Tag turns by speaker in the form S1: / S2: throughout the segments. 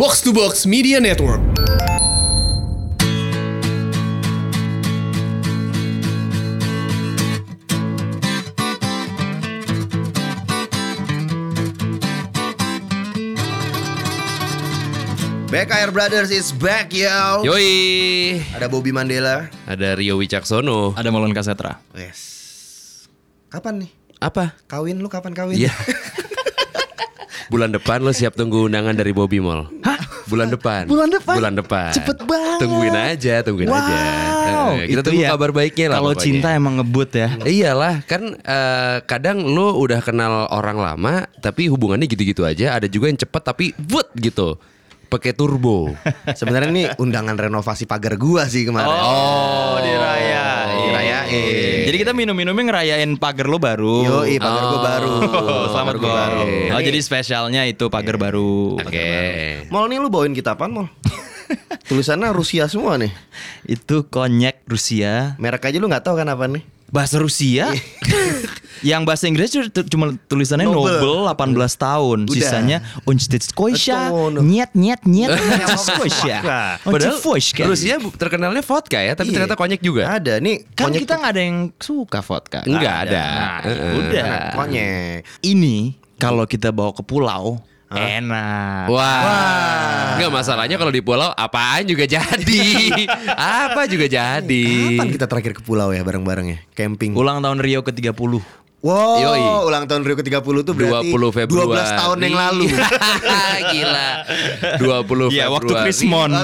S1: Box to Box Media Network.
S2: BKR Brothers is back yo.
S3: Yoi,
S2: Ada Bobby Mandela.
S3: ada Rio Wicaksono.
S4: Ada Malon Kasetra.
S2: Yes. Kapan nih?
S3: Apa?
S2: Kawin lu kapan kawin?
S3: Iya. Bulan depan lo siap tunggu undangan dari Bobby Mall. Hah? Bulan depan.
S2: Bulan depan?
S3: Bulan depan.
S2: Cepet banget.
S3: Tungguin aja, tungguin aja. Eh, Kita
S5: ya.
S3: tunggu kabar baiknya lah.
S4: Kalau
S3: pokoknya.
S4: cinta emang ngebut ya.
S3: Iyalah, kan eh, kadang lo udah kenal orang lama, tapi hubungannya gitu-gitu aja. Ada juga yang cepet tapi buat gitu, pakai turbo.
S2: Sebenarnya nih undangan renovasi pagar gua sih kemarin.
S4: Oh, dirayain.
S2: Dirayain.
S4: Jadi kita minum-minumnya ngerayain pagar lo baru.
S2: Yoi, pagar gua baru.
S4: Oh,
S2: Pagar
S4: selamat
S2: gua
S4: gue.
S2: baru.
S4: Oh,
S2: Ini-
S4: jadi spesialnya itu pagar baru.
S3: Oke.
S2: Mall nih lu bawain kita apaan mall? Tulisannya Rusia semua nih.
S4: Itu konyek Rusia.
S2: Merek aja lu nggak tahu kan apa nih?
S4: Bahasa Rusia. Yang bahasa Inggris tu- tu- cuma tulisannya
S2: Nobel.
S4: Nobel, 18 tahun.
S2: Udah.
S4: Sisanya Unstitskoisha.
S2: Betul.
S4: Nyet nyet nyet.
S2: Nah,
S4: Unstitskoisha.
S5: Oh,
S3: Padahal
S4: Unstitskoisha.
S3: Rusia bu- terkenalnya vodka ya, tapi
S2: Iya.
S3: ternyata konyek juga.
S2: Ada nih.
S4: Kan
S2: konyek
S4: kita
S2: tuh-
S4: nggak ada yang suka vodka.
S3: Nggak ada.
S4: Nah,
S3: Heeh.
S4: udah.
S2: Nah, konyek.
S4: Ini kalau kita bawa ke pulau enak.
S3: Wah. Enggak masalahnya kalau di pulau apaan juga jadi. Apa juga jadi.
S2: Kapan kita terakhir ke pulau ya bareng-bareng ya? Camping.
S4: Ulang tahun Rio ke-30.
S2: Wow,
S3: Yoi.
S2: ulang tahun Rio ke-30 tuh berarti
S3: 20 Februari. Iya.
S2: 12 tahun yang lalu.
S3: Gila. 20 Februari.
S4: Iya, waktu Krismon.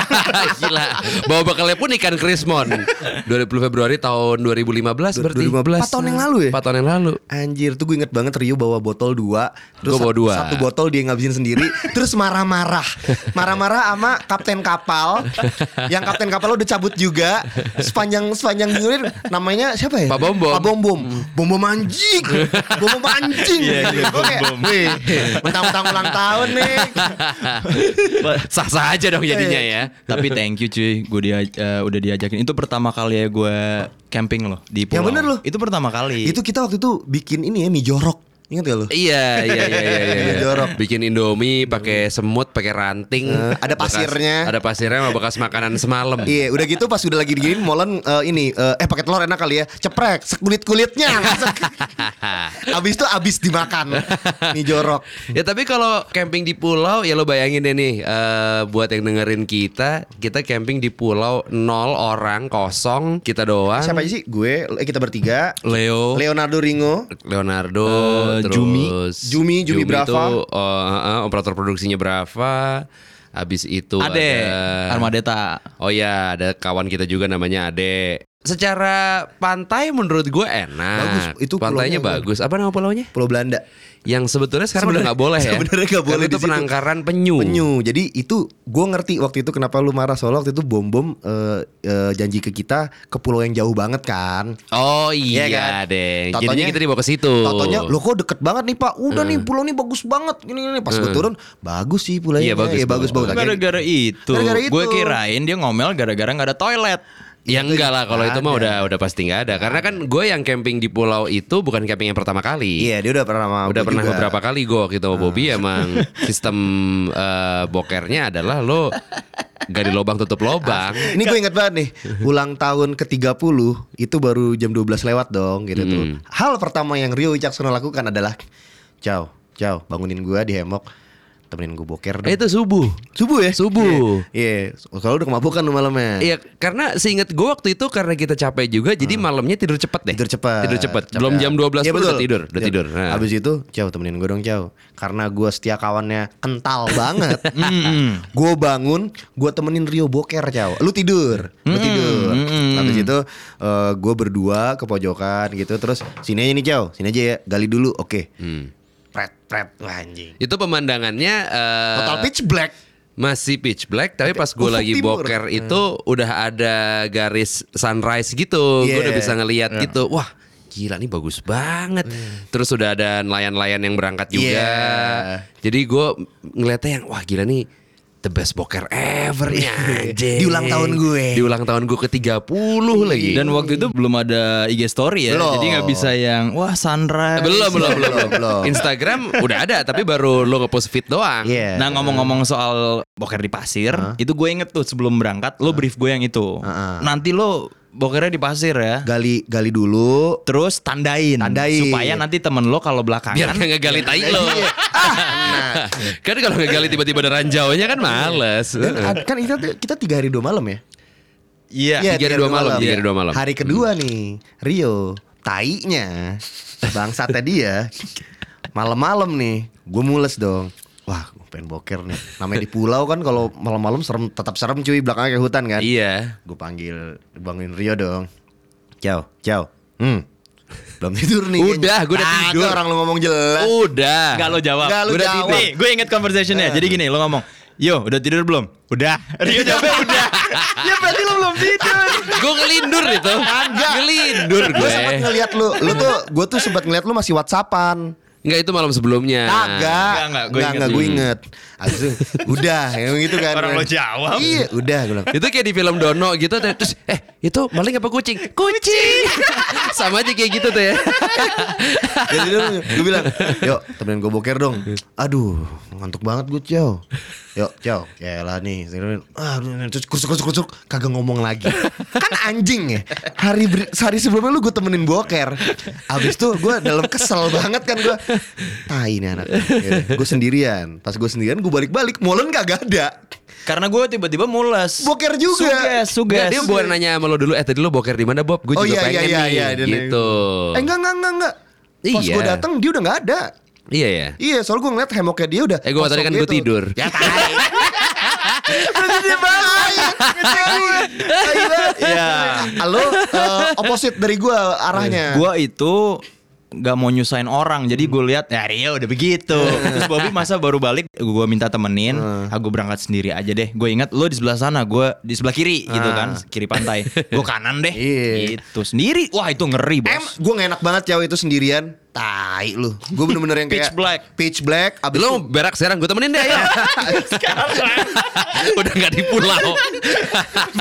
S3: Gila. Bawa bekalnya pun ikan Krismon. 20 Februari tahun 2015 berarti.
S2: 2015.
S3: 4 tahun yang lalu ya? 4 tahun yang lalu.
S2: Anjir tuh gue inget banget Rio bawa botol dua Terus
S3: Gua bawa
S2: satu-
S3: dua.
S2: Satu botol dia ngabisin sendiri Terus marah-marah Marah-marah sama kapten kapal Yang kapten kapal udah cabut juga Sepanjang sepanjang gilir Namanya siapa ya?
S3: Pak Bombom.
S2: Pak Bombom Bombom anjing Bombom anjing
S3: Iya,
S2: Gue kayak Wih Mentang-mentang ulang tahun nih Eh.
S3: Sah-sah aja dong jadinya ya.
S4: Tapi thank you cuy, gue dia eh, udah diajakin. Itu pertama kali ya gue camping loh di pulau.
S2: Yang Ya, bener loh.
S4: Itu pertama kali.
S2: Itu kita waktu itu bikin ini ya Mie jorok Ingat gak lu?
S3: Iya, iya, iya, iya, iya, iya.
S2: Jorok. Eh,
S3: Bikin Indomie pakai semut, pakai ranting,
S2: ada
S3: Bekas-
S2: pasirnya.
S3: ada pasirnya sama bekas makanan semalam.
S2: Iya, udah gitu pas udah lagi digini molen eh, ini eh, eh pakai telur enak kali ya. Ceprek, sekulit kulitnya. abis itu abis dimakan. Mie jorok.
S3: Ya tapi kalau camping di pulau ya lo bayangin deh nih eh, buat yang dengerin kita, kita camping di pulau nol orang kosong kita doang.
S2: Siapa aja sih? Gue, eh, kita bertiga.
S3: Oh.
S4: Leo.
S2: Leonardo Ringo.
S3: Leonardo,
S4: Eh,
S3: terus
S4: Jumi.
S2: Jumi, Jumi Brava.
S3: itu, eh, eh, operator produksinya Brava. Habis itu
S4: Ade,
S3: ada
S4: Armadeta.
S3: Oh ya, ada kawan kita juga namanya Ade. Secara pantai menurut gue enak.
S2: Bagus, itu
S3: pantainya
S2: pulaunya
S3: bagus. Apa nama pulaunya?
S2: Pulau Belanda.
S3: Yang sebetulnya sekarang udah nggak boleh ya.
S2: Sebenarnya nggak
S3: Karena
S2: boleh
S3: itu
S2: di situ.
S3: penangkaran penyu.
S2: Penyu. Jadi itu gue ngerti waktu itu kenapa lu marah soalnya waktu itu bom bom janji ke kita ke pulau yang jauh banget kan.
S3: Oh iya,
S2: Iya kan?
S3: deng.
S2: Totonya-
S3: Jadinya kita dibawa ke situ. Eh.
S2: Totonya lo kok deket banget nih pak Udah nih pulau nih bagus banget gini, gini. Pas gue turun Bagus sih pulaunya
S3: Iya, bagus, bagus.
S2: bagus, bagus. Akhirnya-
S4: Gara-gara itu,
S2: Gara-gara itu. Iya.
S4: gue kirain dia ngomel gara-gara nggak ada toilet.
S3: Ya
S2: gitu
S3: enggak lah kalau itu mah udah udah pasti nggak ada. Karena kan gue yang camping di pulau itu bukan camping yang pertama kali.
S2: Iya dia udah pernah sama
S3: Udah
S2: gua
S3: pernah
S2: juga. Ah.
S3: beberapa kali gue kita sama Bobby emang sistem eh, bokernya adalah lo gali lubang tutup lubang.
S2: Ini gue inget banget nih Ulang tahun ke-30 Itu baru jam 12 lewat dong gitu tuh
S3: Hmm.
S2: Hal pertama yang Rio Wicaksono lakukan adalah Ciao, ciao bangunin gue di hemok Temenin gue boker dong
S3: Eh, itu subuh.
S2: Subuh ya?
S3: Subuh.
S2: Iya, Kalau udah kemabukan lu malamnya
S3: Iya, karena seingat gue waktu itu karena kita capek juga, jadi malamnya tidur cepet deh.
S2: Ah. Tidur cepet
S3: Eh, Tidur cepet. Belum jam 12
S2: Iya,
S3: pun
S2: betul.
S3: udah tidur, udah
S2: Iya.
S3: tidur. Nah.
S2: Abis itu Ciao temenin gue dong Ciao Karena gue setia kawannya kental banget Gue bangun Gue temenin Rio boker Ciao Lu tidur Lu tidur Abis itu Gue berdua ke pojokan gitu Terus sini aja nih Ciao Sini aja ya Gali dulu oke
S3: Hmm.
S2: Pret pret Wah anjing
S3: Itu pemandangannya eh,
S2: Total pitch black
S3: masih pitch black, tapi pas gue
S2: Ufuk
S3: lagi
S2: timur. Hmm.
S3: boker itu udah ada garis sunrise gitu. Gue
S2: Iya.
S3: udah bisa ngelihat gitu. Wah, gila nih bagus banget. Terus udah ada nelayan-nelayan yang berangkat juga.
S2: Iya.
S3: Jadi gue ngeliatnya yang wah gila nih the best boker ever ya anjing.
S2: Di ulang tahun gue.
S3: Di ulang tahun gue ke 30 lagi.
S5: Dan waktu itu belum ada IG story ya,
S2: Belum.
S5: jadi nggak bisa yang wah
S3: Eh,
S5: sunrise.
S3: belum, belum, belum, belum.
S2: Belum.
S3: Instagram udah ada tapi baru lo nge-post feed doang.
S2: Iya.
S5: Nah ngomong-ngomong soal boker di pasir, itu gue inget tuh sebelum berangkat lo brief gue yang itu.
S2: Heeh.
S5: Nanti lo bokernya di pasir ya.
S2: gali gali dulu.
S5: Terus tandain,
S2: Tandain.
S5: supaya nanti temen lo kalau belakangan
S3: Biar nggak ngegali tai lo. kan kalau ngegali tiba-tiba ada ranjaunya kan males.
S2: Dan ad- kan kita kita tiga hari dua malam ya.
S5: Iya.
S2: Iya,
S3: tiga hari dua malam, tiga hari dua malam. Hmm.
S2: Hari kedua nih, Rio, tainya bangsatnya dia malam-malam nih, gue mules dong. Wah, gue pengen boker nih. Namanya di pulau kan kalau malam-malam serem, tetap serem cuy belakangnya kayak hutan kan.
S3: Iya.
S2: Gue panggil bangunin Rio dong. Ciao, ciao. Hmm. Belum tidur nih.
S3: Udah, gua udah
S2: Kagak,
S3: tidur.
S2: orang lu ngomong jelas.
S3: Udah.
S5: Gak lo jawab.
S2: Nggak, lo
S5: Udah
S2: jawab.
S5: tidur. Nih, gue inget conversationnya. Jadi gini, lo ngomong, yo udah tidur belum? Udah. Rio jawabnya udah. ya berarti lo belum tidur.
S3: gue ngelindur itu. Ngelindur
S2: Gue
S3: gue.
S2: sempat ngeliat lu, lu tuh, gue tuh sempat ngeliat lu masih WhatsAppan.
S3: Enggak itu malam sebelumnya.
S2: Kagak.
S5: Enggak, enggak, gua inget.
S2: gue inget. Abis itu udah, yang gitu kan.
S5: Orang lo jawab.
S2: Iya, udah gue bilang.
S3: Itu kayak di film Dono gitu terus eh itu maling apa kucing? Kucing. Sama aja kayak gitu tuh ya.
S2: Jadi gue bilang, "Yuk, temenin gue boker dong." Aduh, ngantuk banget gue, Ciao. Yuk, Ciao. Yaelah nih. Ah, terus kursuk kursuk kursuk kagak ngomong lagi. Kan anjing ya. Hari beri- sehari sebelumnya lu gue temenin boker. Abis itu gue dalam kesel banget kan gue. Tai nih anak. Gue sendirian. Pas gue sendirian gue balik-balik, molen kagak ada.
S5: Karena gue tiba-tiba mules.
S2: Boker juga.
S5: Suges, suges.
S3: Enggak, dia bukan nanya sama lo dulu, eh tadi lo boker di mana Bob? Gue
S2: Oh, iya,
S3: juga pengen nih.
S2: dan-
S3: gitu.
S2: Eh enggak enggak enggak enggak. Pas
S3: Iya.
S2: gue datang dia udah nggak ada.
S3: Iya ya.
S2: Iya, soal gue ngeliat hemoknya dia udah.
S3: Eh, gua tadi
S2: kosong
S3: kan gua
S2: gitu.
S3: tidur.
S2: Ya tai. Berarti dia balik.
S5: Iya.
S2: Halo, eh, opposite dari gue arahnya.
S5: Gue itu gak mau nyusahin orang jadi gue lihat ya Rio udah begitu terus Bobby masa baru balik gue minta temenin aku berangkat sendiri aja deh gue ingat lo di sebelah sana gue di sebelah kiri gitu kan kiri pantai gue kanan deh
S2: Iya.
S5: gitu sendiri wah itu ngeri bos
S2: Em, gue gak enak banget cewek itu sendirian. Tai lu. Gue bener-bener yang kayak
S5: Pitch black.
S2: Pitch black. Abis
S3: Lo
S2: itu-
S3: mau berak sekarang gue temenin deh ayo. Udah gak di pulau.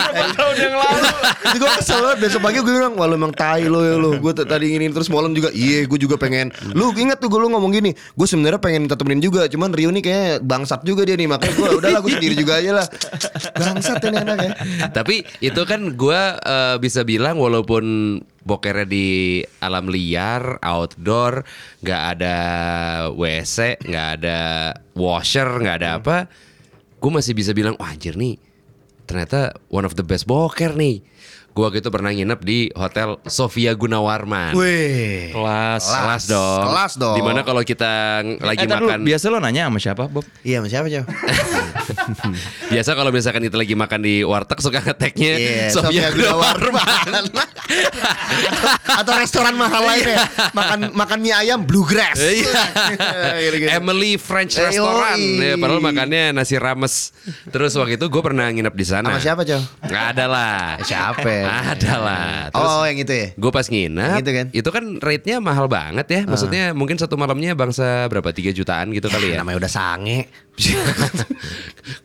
S2: Jadi gue kesel banget besok pagi gue bilang Wah lu emang tai lo ya lo Gue t- tadi inginin terus malam juga Iya gue juga pengen Lu ingat tuh gue lu ngomong gini Gue sebenarnya pengen minta temenin juga Cuman Rio nih kayaknya bangsat juga dia nih Makanya gue udahlah gue sendiri juga aja lah Bangsat ini anak ya
S3: Tapi itu kan gue bisa bilang walaupun bokernya di alam liar, outdoor, nggak ada WC, nggak ada washer, nggak ada apa, gue masih bisa bilang, wah anjir nih, ternyata one of the best boker nih. Gue gitu pernah nginep di hotel Sofia Gunawarman.
S2: Weh
S5: kelas
S3: Kelas dong.
S2: Kelas dong.
S3: Dimana kalau kita lagi
S5: Eh, tar dulu,
S3: makan.
S5: biasa lo nanya sama siapa Bob
S2: Iya sama siapa siapa
S3: Biasa kalau misalkan kita lagi makan di warteg suka ngeteknya
S2: Iya
S3: Sofia, Gunawarman.
S2: Atau restoran mahal lainnya Makan makan mie ayam bluegrass Gitu-gitu.
S3: Iya. Emily French
S2: Eh,
S3: Restaurant.
S2: yoi.
S3: Ya, padahal makannya nasi rames. Terus waktu itu gue pernah nginep di sana.
S2: Sama siapa Cow?
S3: Nggak ada lah.
S2: Eh, siapa?
S3: Ada lah. Terus
S2: Oh yang itu ya
S3: gue pas nginep,
S2: Yang itu kan?
S3: itu kan rate-nya mahal banget ya. Maksudnya mungkin satu malamnya bangsa berapa? 3 jutaan gitu kali ya.
S2: Namanya udah sange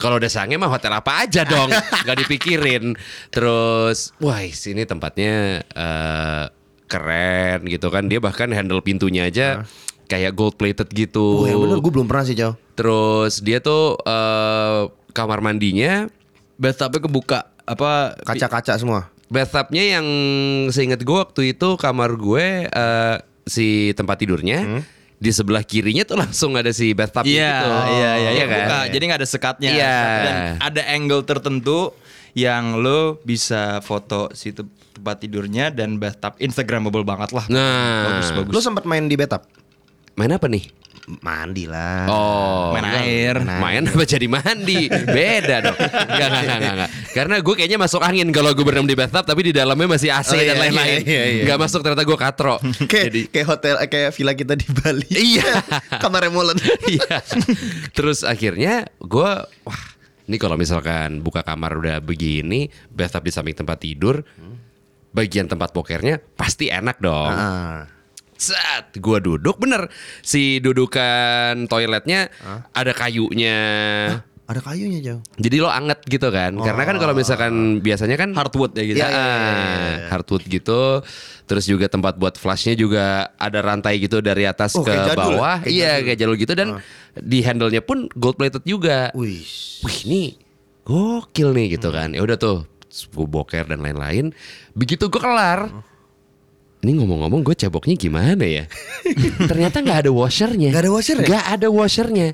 S3: Kalau udah sange mah hotel apa aja dong, nggak dipikirin. Terus, wah sini tempatnya eh, keren gitu kan. Dia bahkan handle pintunya aja kayak gold plated gitu.
S2: Oh yang bener gue belum pernah sih Cow
S3: Terus dia tuh eh, kamar mandinya
S5: bathtubnya kebuka apa
S2: Kaca-kaca semua
S3: bathtubnya yang seingat gue waktu itu kamar gue eh, si tempat tidurnya di sebelah kirinya tuh langsung ada si bathtub
S5: Hmm? Iya,
S3: gitu.
S5: iya, iya,
S3: Iya
S5: iya,
S3: kan?
S5: buka. Jadi nggak ada sekatnya.
S3: Iya.
S5: Dan ada angle tertentu yang lo bisa foto si te- tempat tidurnya dan bathtub Instagramable banget lah.
S3: Nah.
S5: bagus bagus.
S2: Lu sempat main di bathtub?
S3: Main apa nih?
S2: Mandi lah.
S3: Oh,
S5: Main air.
S3: Main apa jadi mandi? Beda dong. Enggak, enggak, enggak, enggak, enggak. Karena gue kayaknya masuk angin kalau gue berenam di bathtub tapi di dalamnya masih AC
S2: Oh,
S3: dan
S2: iya,
S3: lain-lain.
S2: iya, iya, iya.
S3: Enggak masuk ternyata gue katro.
S2: Kayak, kayak hotel eh, kayak villa kita di Bali.
S3: Iya.
S2: Kamar molen.
S3: Iya. Terus akhirnya gue wah, ini kalau misalkan buka kamar udah begini, bathtub di samping tempat tidur, bagian tempat pokernya pasti enak dong.
S2: Ah.
S3: Set, gua
S2: Ah.
S3: duduk bener. Si dudukan toiletnya ada kayunya.
S2: Ada kayunya jauh.
S3: Jadi lo anget gitu kan? Karena kan kalau
S2: Oh.
S3: misalkan biasanya kan
S4: Hardwood ya gitu.
S3: Iya,
S2: Ah.
S3: hardwood gitu. Terus juga tempat buat flashnya juga ada rantai gitu dari atas
S2: Oh,
S3: ke
S2: kayak jadul ya?
S3: bawah.
S2: Kayak
S3: iya,
S2: jadul. Ah.
S3: kayak jalur gitu dan di handle-nya pun gold plated juga.
S2: Wih.
S3: Wih, ini gokil nih gitu kan. Ya udah tuh gue boker dan lain-lain. Begitu gue kelar. Ini ngomong-ngomong gue ceboknya gimana ya? Ternyata nggak ada washernya.
S2: Nggak ada ya? washernya?
S3: Nggak ada washernya.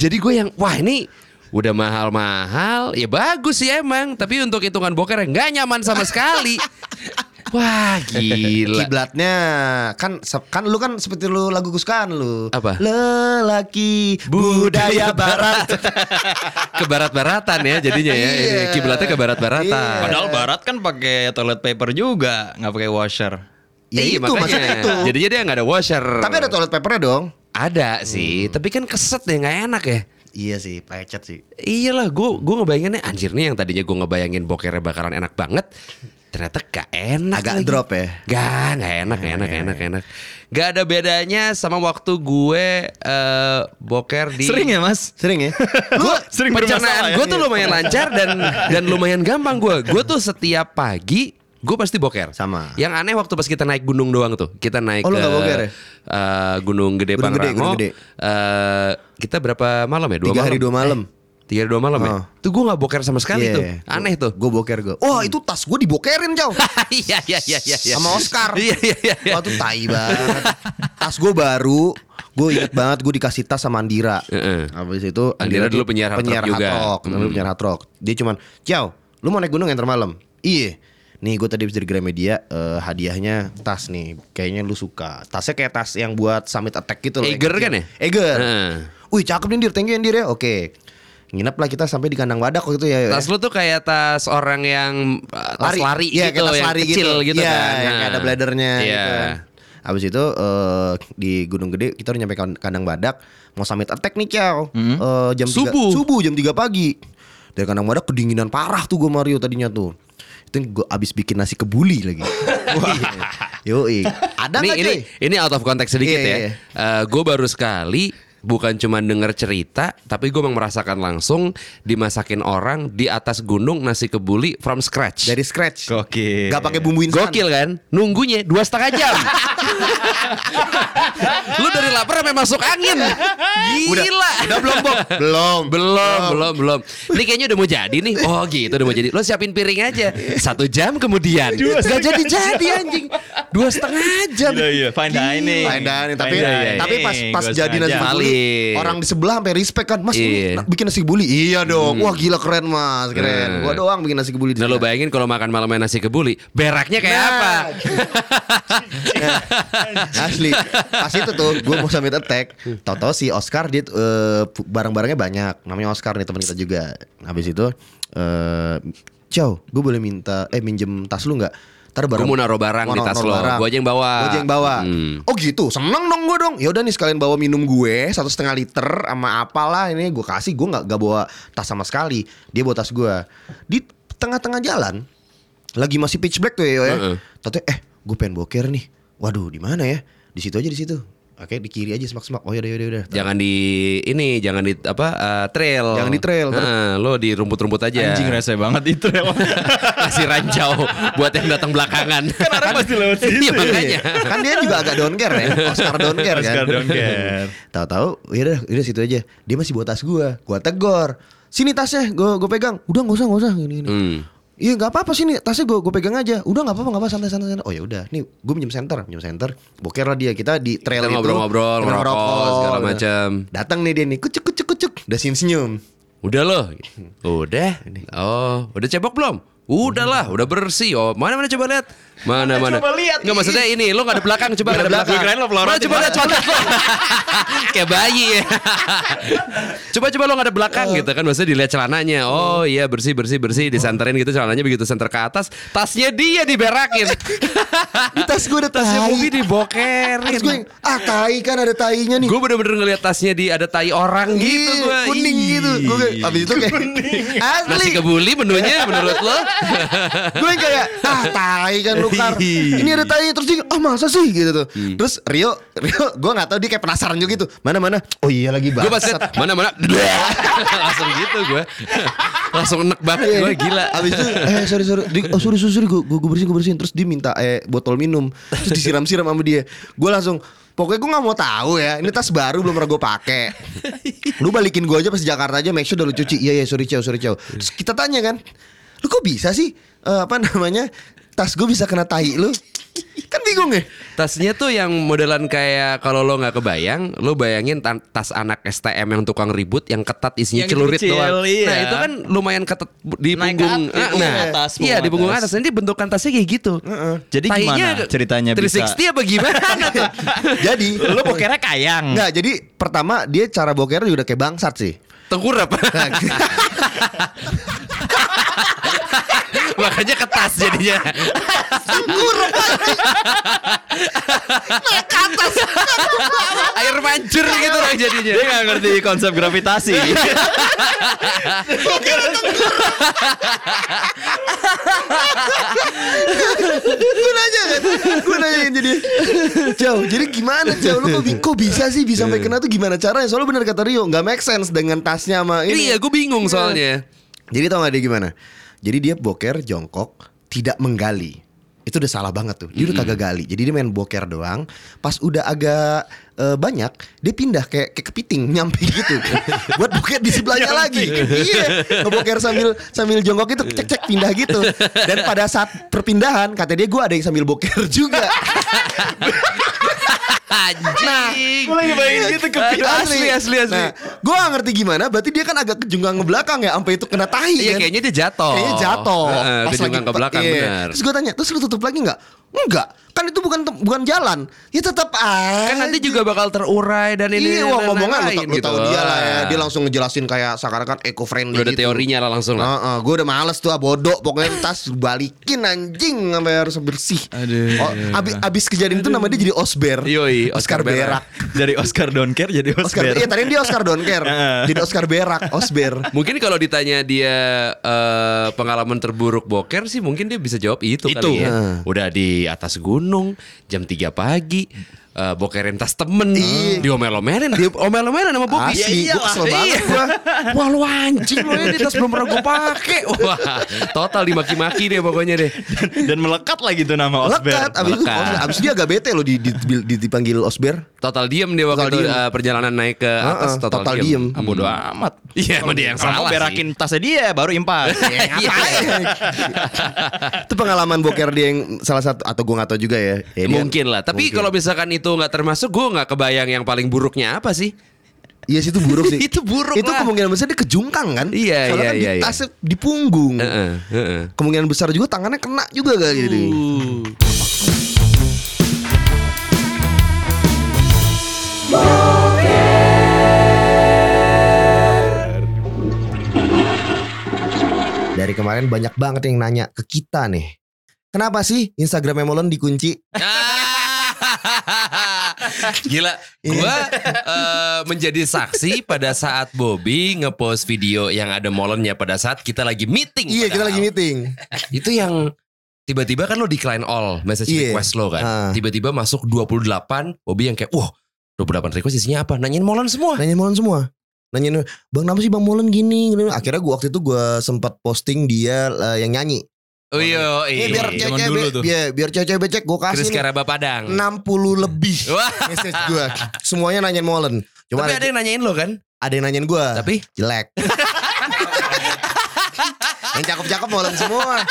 S3: Jadi gue yang wah ini udah mahal-mahal ya bagus sih emang tapi untuk hitungan boker nggak nyaman sama sekali wah gila
S2: Kiblatnya kan se- kan lu kan seperti lu lagu Guskan lu.
S3: Apa?
S2: Lelaki budaya barat.
S3: ke barat-baratan ya jadinya ya
S2: Iya.
S3: kiblatnya ke barat-baratan
S4: Padahal barat kan pakai toilet paper juga, nggak pakai washer.
S2: ya
S3: Iya,
S2: itu maksudnya itu.
S3: jadinya dia nggak ada washer
S2: Tapi ada toilet papernya dong.
S3: Ada
S2: Hmm.
S3: sih, tapi kan keset ya nggak enak ya.
S2: Iya sih, pecet sih.
S3: Iyalah, gue gue ngebayanginnya anjir nih yang tadinya gue ngebayangin bokernya bakalan enak banget, ternyata gak enak.
S2: Agak
S3: lagi.
S2: drop ya?
S3: Gak, gak enak, gak enak, gak enak, gak enak. Gak ada bedanya sama waktu gue eh, boker di
S4: Sering ya mas?
S2: Sering ya?
S3: Gue
S4: Sering bermasalah ya?
S3: pencernaan gue tuh lumayan lancar dan dan lumayan gampang gue. Gue tuh setiap pagi gue pasti boker.
S2: Sama.
S3: Yang aneh waktu pas kita naik gunung doang tuh. Kita naik
S2: Oh, lu nggak boker ya?
S3: eh, Gunung Gede
S2: Gunung Gede,
S3: Pangrango.
S2: Gunung Gede.
S3: Eh, kita berapa malam ya? Dua
S2: Tiga
S3: malam.
S2: hari dua malam.
S3: Eh, tiga hari dua malam ya.
S2: Oh. Iya,
S3: Tuh gue nggak boker sama sekali tuh. Aneh tuh.
S2: Gue boker gue. Wah
S3: Hmm.
S2: itu tas gue dibokerin jauh.
S3: Iya iya iya iya. iya.
S2: Sama Oscar.
S3: Iya iya iya, iya.
S2: Wah tuh tai banget. Tas gue baru. Gue inget banget gue dikasih tas sama Andira.
S3: Heeh.
S2: Habis itu
S3: Andira dulu penyiar hard rock
S2: penyiar
S3: juga.
S2: hard rock, dulu
S3: Hmm.
S2: penyiar hard rock. Dia cuman, "Ciao, lu mau naik gunung yang malam?" Iya. Nih gue tadi habis dari Gramedia eh, hadiahnya tas nih. Kayaknya lu suka. Tasnya kayak tas yang buat summit attack gitu loh. yang
S3: Eger
S2: kecil.
S3: kan ya?
S2: Eger.
S3: Heeh.
S2: Wih cakep nih dir, thank you ya, dir ya. Oke. Nginep lah kita sampai di kandang wadak waktu itu ya.
S3: Tas lu tuh kayak tas orang yang eh, tas lari,
S2: Iya,
S3: gitu,
S2: kayak tas
S3: yang
S2: lari
S3: kecil gitu,
S2: Iya,
S3: kan.
S2: yang
S3: Nah.
S2: kayak ada bladernya
S3: Iya.
S2: gitu kan. Abis itu eh, di Gunung Gede kita udah nyampe kan- kandang badak mau summit attack nih Ciao. Eh,
S3: Mm-hmm.
S2: jam tiga-
S3: Subuh.
S2: subuh jam 3 pagi. Dari kandang badak kedinginan parah tuh gue Mario tadinya tuh. Itu gue abis bikin nasi kebuli lagi. Yo, ada
S3: ini,
S2: nggak
S3: ini,
S2: cuy?
S3: ini out of context sedikit
S2: Iya, iya,
S3: ya.
S2: iya.
S3: gue baru sekali bukan cuma denger cerita, tapi gue merasakan langsung dimasakin orang di atas gunung nasi kebuli from scratch.
S2: Dari scratch.
S4: Gokil.
S2: Gak pakai bumbu instan.
S3: Gokil kan? Nunggunya dua setengah jam. Lu dari lapar sampai masuk angin. Gila.
S2: Udah, udah belum Bob? belum.
S3: belum, belum, belum. Ini kayaknya udah mau jadi nih. Oh gitu udah mau jadi. Lo siapin piring aja. Satu jam kemudian. Gak jadi-jadi anjing. Dua setengah jam.
S4: Iya iya. Fine dining.
S2: Fine dining, tapi
S3: Iya,
S4: Fine dining.
S2: tapi pas pas
S4: Gua
S2: jadi nasi
S4: sengaja.
S3: Bali.
S2: buli
S3: Paling.
S2: orang di sebelah sampai respect kan mas lu
S3: Iya.
S2: na- bikin nasi buli iya dong wah gila keren mas
S3: Hmm.
S2: keren gua doang bikin nasi kebuli di
S3: Nah lo
S2: sana.
S3: bayangin kalau makan malamnya nasi kebuli, beraknya kayak
S2: Nah.
S3: apa?
S2: Nah, asli pas itu tuh gue mau summit attack tau-tau si Oscar dia tuh, eh, pu- barang-barangnya banyak namanya Oscar nih teman kita juga habis itu eh Chow gue boleh minta eh minjem tas lu nggak Ntar
S3: Gua
S2: barang-
S3: mau naro barang di tas
S2: naro
S3: lo.
S2: barang.
S3: Gua aja yang bawa.
S2: Gua aja yang bawa.
S3: Hmm.
S2: Oh gitu, seneng dong gue dong. Ya udah nih sekalian bawa minum gue satu setengah liter sama apalah ini gue kasih gue nggak nggak bawa tas sama sekali. Dia bawa tas gue di tengah-tengah jalan lagi masih pitch black tuh ya. Yo, ya.
S3: Heeh.
S2: Taunya, eh gue pengen boker nih. Waduh di mana ya? Di situ aja di situ. Oke di kiri aja semak-semak. Oh ya udah udah udah.
S3: Jangan di ini, jangan di apa eh, trail.
S2: Jangan di trail, ter-
S3: Nah, lo di rumput-rumput aja.
S4: Anjing rese banget itu emang.
S3: Kasih rancau buat yang datang belakangan.
S4: Kan orang pasti lewat situ.
S3: Iya makanya.
S2: kan dia juga agak down care ya. Oscar down care kan.
S4: Oscar don't care.
S2: Tahu-tahu, ya udah, udah situ aja. Dia masih bawa tas gua. Gua tegor. Sini tasnya, gua gua pegang. Udah nggak usah, nggak usah gini gini.
S3: Hmm.
S2: Iya nggak apa-apa sini tasnya gue gue pegang aja. Udah nggak apa-apa nggak apa santai santai. santai. Oh ya udah, nih gue minjem senter, minjem senter. Boker lah dia kita di trail
S3: Kita
S2: itu
S3: ngobrol-ngobrol,
S2: kita
S3: ngerokok, segala
S2: gitu.
S3: macam.
S2: Datang nih dia nih, kucuk kucuk kucuk. Udah senyum senyum.
S3: Udah lo. Udah. Oh, udah cebok belum? Udah lah, udah bersih. Oh, mana mana coba lihat. Mana mana.
S4: Coba lihat.
S3: Nggak maksudnya ini, lo nggak ada belakang, coba nggak ada belakang.
S4: Gue kirain lo pelorot.
S3: Mana, coba lihat coba lihat. Kayak bayi. ya. coba coba lo nggak ada belakang
S2: Eh.
S3: gitu kan, maksudnya dilihat celananya. Oh iya bersih bersih
S2: Hmm.
S3: bersih, disanterin gitu celananya begitu senter ke atas, tasnya dia diberakin.
S2: Di tas gue ada
S3: tasnya
S2: tai.
S3: Bobby
S2: Terus gue
S3: dibokerin.
S2: yang, ah tai kan ada tainya nih.
S3: Gue bener-bener ngeliat tasnya di ada tai orang gitu
S2: Ih,
S3: gue.
S2: kuning gitu. Gue kayak, abis itu kayak asli.
S3: Nasi kebuli menunya menurut lo?
S2: gue yang kayak ah tai kan lu tukar ini ada tanya terus dia ah masa sih gitu tuh terus Rio Rio gue nggak tahu dia kayak penasaran juga gitu mana mana oh iya lagi
S3: Gue pas
S2: banget
S3: liat, mana-mana Langsung gitu gue Langsung enek banget gue
S4: Iya.
S3: gila
S2: Iya. Abis itu eh sorry sorry Di, oh sorry sorry, sorry gue gue bersihin gue bersihin terus dia minta eh botol minum terus disiram-siram sama dia gue langsung pokoknya gue nggak mau tahu ya ini tas baru belum pernah gue pakai lu balikin gue aja pas di Jakarta aja make sure udah lu cuci iya iya sorry ciao sorry ciao terus kita tanya kan lu kok bisa sih eh, apa namanya tas gue bisa kena tai lu kan bingung ya
S3: Tasnya tuh yang modelan kayak kalau lo nggak kebayang, lo bayangin tan- tas anak STM yang tukang ribut, yang ketat isinya
S4: Yang
S3: celurit
S4: kecil,
S3: doang. Nah
S4: iya.
S3: itu kan lumayan ketat di
S4: Naik ke
S3: punggung,
S4: atas, di
S3: Ah,
S4: punggung
S3: nah,
S4: atas,
S3: iya
S4: punggung
S3: di punggung
S4: atas.
S3: atas. Nanti bentukan tasnya kayak gitu.
S4: Jadi
S3: Tainya
S4: gimana ceritanya bisa-
S3: 360 apa gimana tuh?
S2: jadi
S4: Lu bokernya kayang.
S2: nggak jadi pertama dia cara bokernya juga udah kayak bangsat sih
S3: Tengkurap. Makanya ketas jadinya. Air mancur gitu loh jadinya.
S4: Dia gak ngerti konsep gravitasi.
S2: gue nanya kan gue nanya kan jadi jauh jadi gimana jauh lu kok, bi- kok bisa sih bisa sampai kena tuh gimana caranya soalnya bener kata Rio nggak make sense dengan tasnya sama ini
S3: Iya, gue bingung soalnya.
S2: jadi tau gak dia gimana jadi dia boker jongkok tidak menggali itu udah salah banget tuh dia udah kagak gali jadi dia main boker doang pas udah agak eh, banyak dia pindah kayak kayak kepiting nyampe gitu buat boker di sebelahnya lagi iya ngeboker sambil sambil jongkok itu cek cek pindah gitu dan pada saat perpindahan kata dia gue ada yang sambil boker juga
S3: Anjing.
S4: Gue
S2: Iya,
S4: lagi bayangin gitu
S3: kepiting. Nah, Asli, asli, asli.
S2: gue gak Nah, ngerti gimana berarti dia kan agak kejunggang ke belakang ya sampai itu kena tahi
S3: Iya
S2: kan?
S3: kayaknya dia jatuh.
S2: Kayaknya jatuh.
S3: Heeh,
S2: Pas
S3: kejungkang
S2: lagi-
S3: ke belakang
S2: iya.
S3: benar.
S2: Terus gue tanya, terus lu tutup lagi nggak? Enggak. Kan itu bukan tem- bukan jalan. Ya tetap aja.
S3: Kan nanti juga bakal terurai dan ini
S2: Iya,
S3: dan
S2: wah ngomongan lu,
S3: lain-lain gitu.
S2: ta- lu tahu dia lah ya. Dia
S3: Wah.
S2: langsung gitu. ngejelasin kayak seakan-akan eco friendly
S3: Udah ada teorinya lah langsung lah.
S2: gue udah males tuh ah, bodoh pokoknya tas balikin anjing sampai harus bersih.
S4: Aduh.
S2: Oh, abis, abis kejadian itu namanya dia jadi Osber.
S3: Yoi,
S2: Oscar,
S3: Oscar Berak.
S2: Berak.
S4: Dari Oscar Don't Care jadi
S2: Oscar,
S4: Oscar.
S2: iya tadi dia Oscar Donker,
S4: Heeh.
S2: jadi Oscar Berak, Osber.
S3: Mungkin kalau ditanya dia eh, pengalaman terburuk boker sih mungkin dia bisa jawab itu,
S4: Itu.
S3: kali ya.
S2: Heeh.
S3: Udah di atas gunung jam 3 pagi eh, bokerin tas temen diomel-omelin, Ah, iya. diomel-omelin Iya. sama Bobi.
S2: Asli, gua kesel banget
S3: gua. Wah, lu anjing lu ini tas belum pernah gua pakai. Wah, total dimaki-maki deh pokoknya deh.
S4: Dan melekat lagi tuh nama
S2: Lekat,
S4: Oscar.
S2: abis itu
S3: Lekat.
S2: Osber- abis itu dia agak bete loh di, di, di- dipanggil Osber.
S3: Total diem dia waktu
S2: Total
S3: itu,
S2: diem.
S3: eh, perjalanan naik ke
S2: Heeh,
S3: atas total,
S2: total diem.
S3: diem. Ah, bodo
S4: Bodoh
S3: amat.
S4: amat.
S3: Iya, emang dia yang
S4: Kalau
S3: salah
S4: mau berakin tasnya dia baru impas.
S3: Iya.
S2: itu pengalaman boker dia yang salah satu atau gua nggak tahu juga ya. Ya, dia-
S3: mungkin lah. Tapi
S2: mungkin.
S3: kalau misalkan itu nggak termasuk, gue nggak kebayang yang paling buruknya apa sih?
S2: Iya sih itu buruk sih.
S3: Itu buruk
S2: Itu
S3: lah.
S2: kemungkinan besar dia kejungkang kan?
S3: Iya, iya,
S2: Soalnya kan
S3: iya,
S2: di
S3: iya.
S2: tasnya di punggung.
S3: Heeh, heeh.
S2: Kemungkinan besar juga tangannya kena juga kayak gitu. Dari kemarin banyak banget yang nanya ke kita nih. Kenapa sih Instagram Melon dikunci?
S3: Gila,
S2: Iya.
S3: gue menjadi saksi pada saat Bobby ngepost video yang ada molonnya pada saat kita lagi meeting.
S2: Iya kita
S3: padahal.
S2: lagi meeting.
S3: Itu yang tiba-tiba kan lo decline all message
S2: Iya.
S3: request lo kan.
S2: Ah.
S3: Tiba-tiba masuk 28, Bobby yang kayak, wah 28 request isinya apa? Nanyain molon semua.
S2: Nanya Molen semua. Nanya Bang kenapa sih Bang Molen gini? Gini. Akhirnya gua waktu itu gua sempat posting dia eh, yang nyanyi.
S3: Oh iya, iya.
S2: Ini biar
S4: zaman
S2: cewek
S4: dulu tuh.
S2: biar, biar cewek becek gua
S3: Chris
S2: kasih nih,
S3: Karaba Padang.
S2: Nah, 60 lebih
S3: Wah.
S2: message gua. Semuanya nanyain Molen. Cuma
S3: Tapi
S2: ada,
S3: ada yang nanyain lo kan?
S2: ada yang nanyain gua.
S3: Tapi
S2: jelek. yang cakep-cakep Molen semua.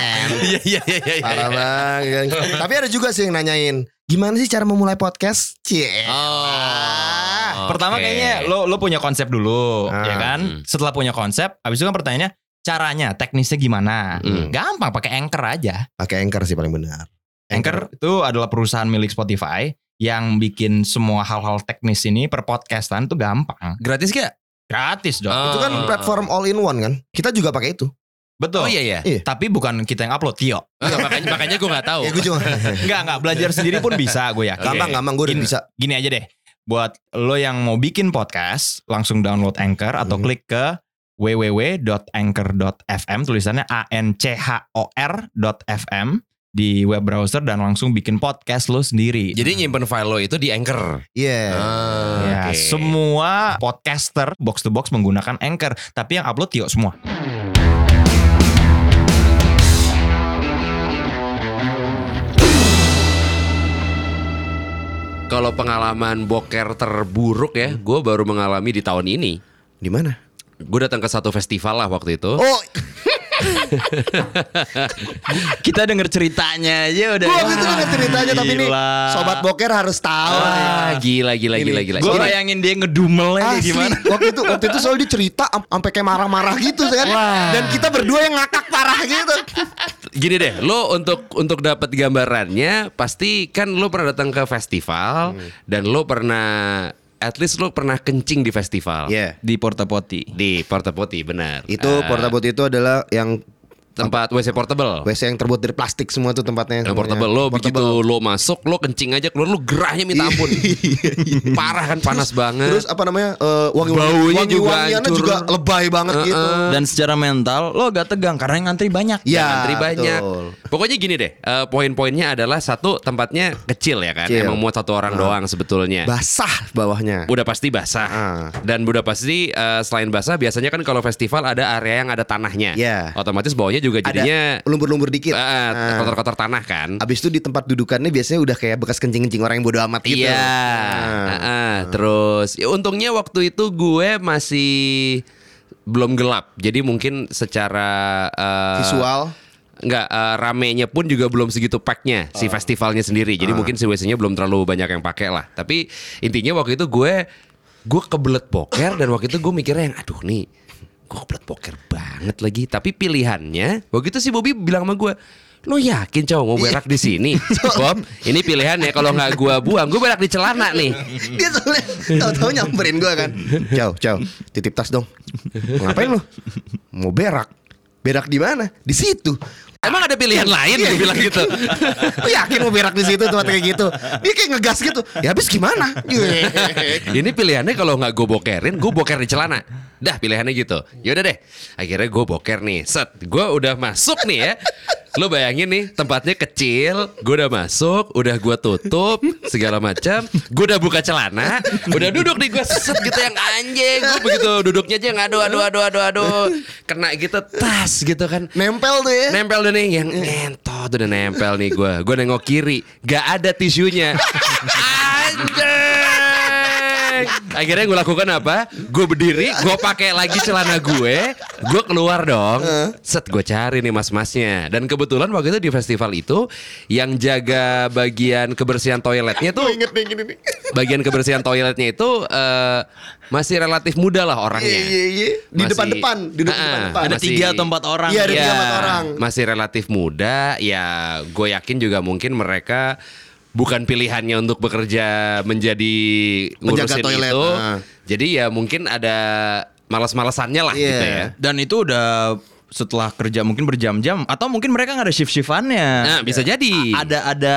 S2: Em,
S3: Iya iya iya iya.
S2: Parah banget. Tapi ada juga sih yang nanyain, gimana sih cara memulai podcast? Cie.
S3: Oh.
S4: Pertama
S3: oke.
S4: kayaknya lo lo punya konsep dulu,
S2: Ah.
S4: ya kan?
S3: Hmm.
S4: Setelah punya konsep, habis itu kan pertanyaannya caranya, teknisnya gimana?
S3: Hmm.
S4: Gampang pakai Anchor aja.
S2: Pakai anchor sih paling benar.
S4: Anchor itu adalah perusahaan milik Spotify yang bikin semua hal-hal teknis ini per podcastan tuh gampang.
S3: gratis gak?
S4: Gratis dong.
S2: Itu kan
S3: Oh.
S2: platform all in one kan? Kita juga pakai itu.
S4: Betul.
S3: Oh iya iya.
S4: Tapi bukan kita yang upload, Tio.
S3: Enggak, makanya makanya gue nggak tahu.
S2: Ya gue cuma
S4: Enggak, enggak. Belajar sendiri pun bisa, gue yakin.
S2: gampang gampang gue udah
S4: Gini.
S2: bisa.
S4: Gini aja deh. Buat lo yang mau bikin podcast, langsung download Anchor atau
S2: Hmm.
S4: klik ke www.anchor.fm tulisannya a n c h o r.fm di web browser dan langsung bikin podcast lo sendiri.
S3: Jadi nyimpen file lo itu di Anchor.
S2: Iya.
S3: Ah,
S4: Ya,
S3: oke.
S4: semua podcaster box to box menggunakan Anchor, tapi yang upload Tio semua.
S3: Kalau pengalaman boker terburuk ya, gue baru mengalami di tahun ini.
S2: Di mana?
S3: Gue datang ke satu festival lah waktu itu.
S2: Oh,
S4: Kita denger ceritanya aja udah.
S2: gua waktu itu ada ceritanya tapi ini sobat boker harus tahu.
S3: Wah, Ah, gila gila
S2: Ini,
S3: gila gila. Ini-
S4: Gue bayangin dia ngedumelnya kayak
S2: Asli,
S4: gimana.
S2: waktu itu waktu itu soal dia cerita am- sampai kayak marah-marah gitu kan. Dan kita berdua yang ngakak parah gitu.
S3: Gini deh, lo untuk untuk dapat gambarannya pasti kan lo pernah datang ke festival dan lo pernah at least lo pernah kencing di festival.
S2: Iya.
S4: Di Porta Poti.
S3: Di Porta Potty benar.
S2: Itu
S3: Eh,
S2: porta portabot itu adalah yang
S3: tempat WC portable.
S2: WC yang terbuat dari plastik semua tuh tempatnya.
S3: Oh. Yang
S2: Iya. semuanya.
S3: portable lo begitu lo masuk lo kencing aja keluar lo gerahnya minta ampun. Parah kan panas banget.
S2: Iya. Terus apa namanya? eh, wangi
S3: Baunya
S2: wangi
S3: juga
S2: wangiannya
S3: hancur. Iya,
S2: juga lebay banget gitu.
S4: Dan secara mental lo agak tegang karena yang ngantri banyak.
S2: Iya,
S3: Antri banyak.
S2: betul.
S3: Pokoknya gini deh, eh, poin-poinnya adalah satu tempatnya kecil ya kan,
S2: Kecil.
S3: emang
S2: Ah.
S3: muat satu orang doang sebetulnya.
S2: Basah bawahnya.
S3: udah pasti basah
S2: Ah.
S3: dan udah pasti eh, selain basah biasanya kan kalau festival ada area yang ada tanahnya
S2: Iya.
S3: otomatis bawahnya juga jadinya
S2: Ada lumpur-lumpur dikit.
S3: eh,
S2: Nah.
S3: kotor-kotor tanah kan
S2: Abis itu di tempat dudukannya biasanya udah kayak bekas kencing-kencing orang yang bodo amat gitu.
S3: Iya.
S2: Nah.
S3: Ah, ah. Terus ya untungnya waktu itu gue masih belum gelap. Jadi mungkin secara eh,
S2: Visual.
S3: Enggak, eh, ramenya pun juga belum segitu packnya si festivalnya sendiri. Jadi mungkin si WC-nya belum terlalu banyak yang pakai lah. Tapi intinya waktu itu gue gue kebelet boker dan waktu itu gue mikirnya yang aduh nih gue kebelet boker banget lagi. Tapi pilihannya waktu itu si Bobby bilang sama gue lo yakin cowok mau berak di sini Bob ini pilihan ya kalau nggak gue buang gue berak di celana nih
S2: Dia soalnya tahu-tahu nyamperin gue kan. Ciao, ciao. Titip tas dong. Ngapain lu? Mau berak. Berak di mana? Di situ.
S3: emang ada pilihan lain dia bilang gitu
S2: Lu yakin mau berak di situ tempat kayak gitu? Dia kayak ngegas gitu. Ya habis gimana? Iya.
S3: ini pilihannya kalau nggak gue bokerin gue boker di celana dah pilihannya gitu yaudah deh akhirnya gue boker nih set gue udah masuk nih ya lo bayangin nih tempatnya kecil gue udah masuk udah gue tutup segala macam gue udah buka celana udah duduk nih gue set gitu yang anjing gue begitu duduknya aja yang aduh aduh aduh aduh aduh kena gitu tas gitu kan
S2: Nempel tuh ya.
S3: Nempel udah nih yang ngentot udah nempel nih gue. Gue nengok kiri, gak ada tisunya. Anjing. Akhirnya gue lakukan apa? Gue berdiri, gue pakai lagi celana gue, gue keluar dong. Set gue cari nih mas-masnya. Dan kebetulan waktu itu di festival itu yang jaga bagian kebersihan toiletnya tuh
S2: Ingat nih gini nih.
S3: bagian kebersihan toiletnya itu eh, masih relatif muda lah orangnya.
S2: Iya, iya, iya. Di
S3: Masih-
S2: depan-depan, di depan-
S3: Ah,
S2: depan-depan.
S4: Ada
S3: masih-
S4: tiga atau empat orang.
S2: Iya, ada
S3: Iya,
S2: tiga empat orang.
S3: Masih relatif muda, ya gue yakin juga mungkin mereka bukan pilihannya untuk bekerja menjadi
S2: Penjaga
S3: ngurusin
S2: toilet,
S3: itu.
S2: ah.
S3: Jadi ya mungkin ada malas-malasannya lah gitu
S2: Iya.
S3: ya.
S4: Dan itu udah setelah kerja mungkin berjam-jam atau mungkin mereka nggak ada shift-shiftannya. Iya.
S3: Nah, bisa jadi.
S4: Ada ada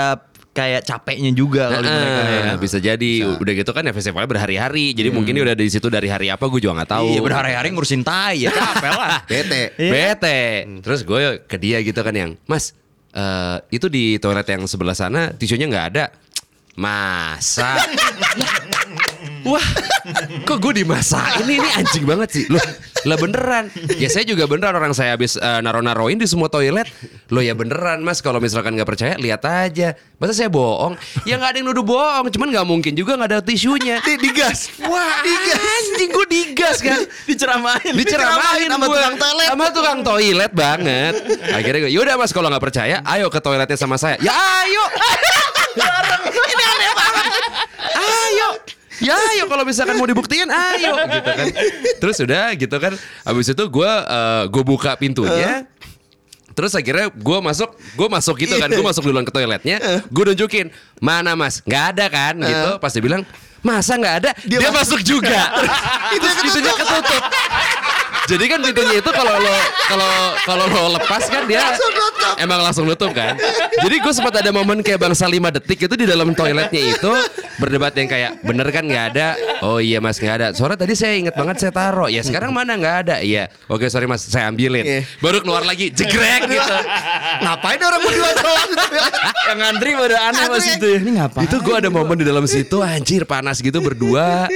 S4: kayak capeknya juga kali
S3: Ah,
S4: mereka ya.
S3: bisa jadi udah gitu kan ya festivalnya berhari-hari
S2: Iya.
S3: jadi mungkin dia udah di situ dari hari apa gue juga nggak tahu
S4: Iya berhari-hari ngurusin tai ya capek lah.
S2: Bete.
S4: Iya.
S3: bete. Hmm, Terus gue ke dia gitu kan yang, Mas, eh, itu di toilet yang sebelah sana tisunya nggak ada. Masa? Wah, kok gue dimasain ini ini anjing banget sih. Loh, lah beneran. Ya saya juga beneran orang saya habis eh, naro-naroin di semua toilet. Loh ya beneran Mas, kalau misalkan nggak percaya lihat aja. Masa saya bohong? Ya nggak ada yang nuduh bohong, cuman nggak mungkin juga nggak ada tisunya.
S2: Di- digas.
S3: Wah, anjing gue digas kan
S4: Diceramahin.
S3: diceramahin
S2: Diceramahin sama
S3: gua.
S2: tukang toilet.
S3: sama tukang toilet banget akhirnya gue yaudah mas kalau nggak percaya ayo ke toiletnya sama saya ya ayo ini aneh banget ayo Ya ayo kalau misalkan mau dibuktiin ayo gitu kan. Terus udah gitu kan. Habis itu gue eh, gue buka pintunya. Terus akhirnya gue masuk, gue masuk gitu kan, gue masuk duluan ke toiletnya, gue nunjukin mana mas, nggak ada kan gitu, pasti bilang masa nggak ada, dia, masuk juga,
S2: Itu
S3: terus
S2: yang
S3: pintunya ketutup, Jadi kan pintunya itu kalau lo kalau kalau lo lepas kan dia
S2: Langsung nutup.
S3: emang langsung nutup kan. Jadi gue sempat ada momen kayak bangsa 5 detik itu di dalam toiletnya itu berdebat yang kayak bener kan nggak ada. Oh iya mas nggak ada. Soalnya tadi saya inget banget saya taruh. Ya sekarang mana nggak ada. Iya. Oke sorry mas saya
S2: Iya.
S3: ambilin. Baru keluar lagi jegrek gitu.
S2: Ngapain orang berdua doang?
S4: Yang ngantri pada aneh
S2: Ngantri.
S4: mas itu. Ini ngapain?
S3: Itu gue ada momen di dalam situ anjir panas gitu berdua.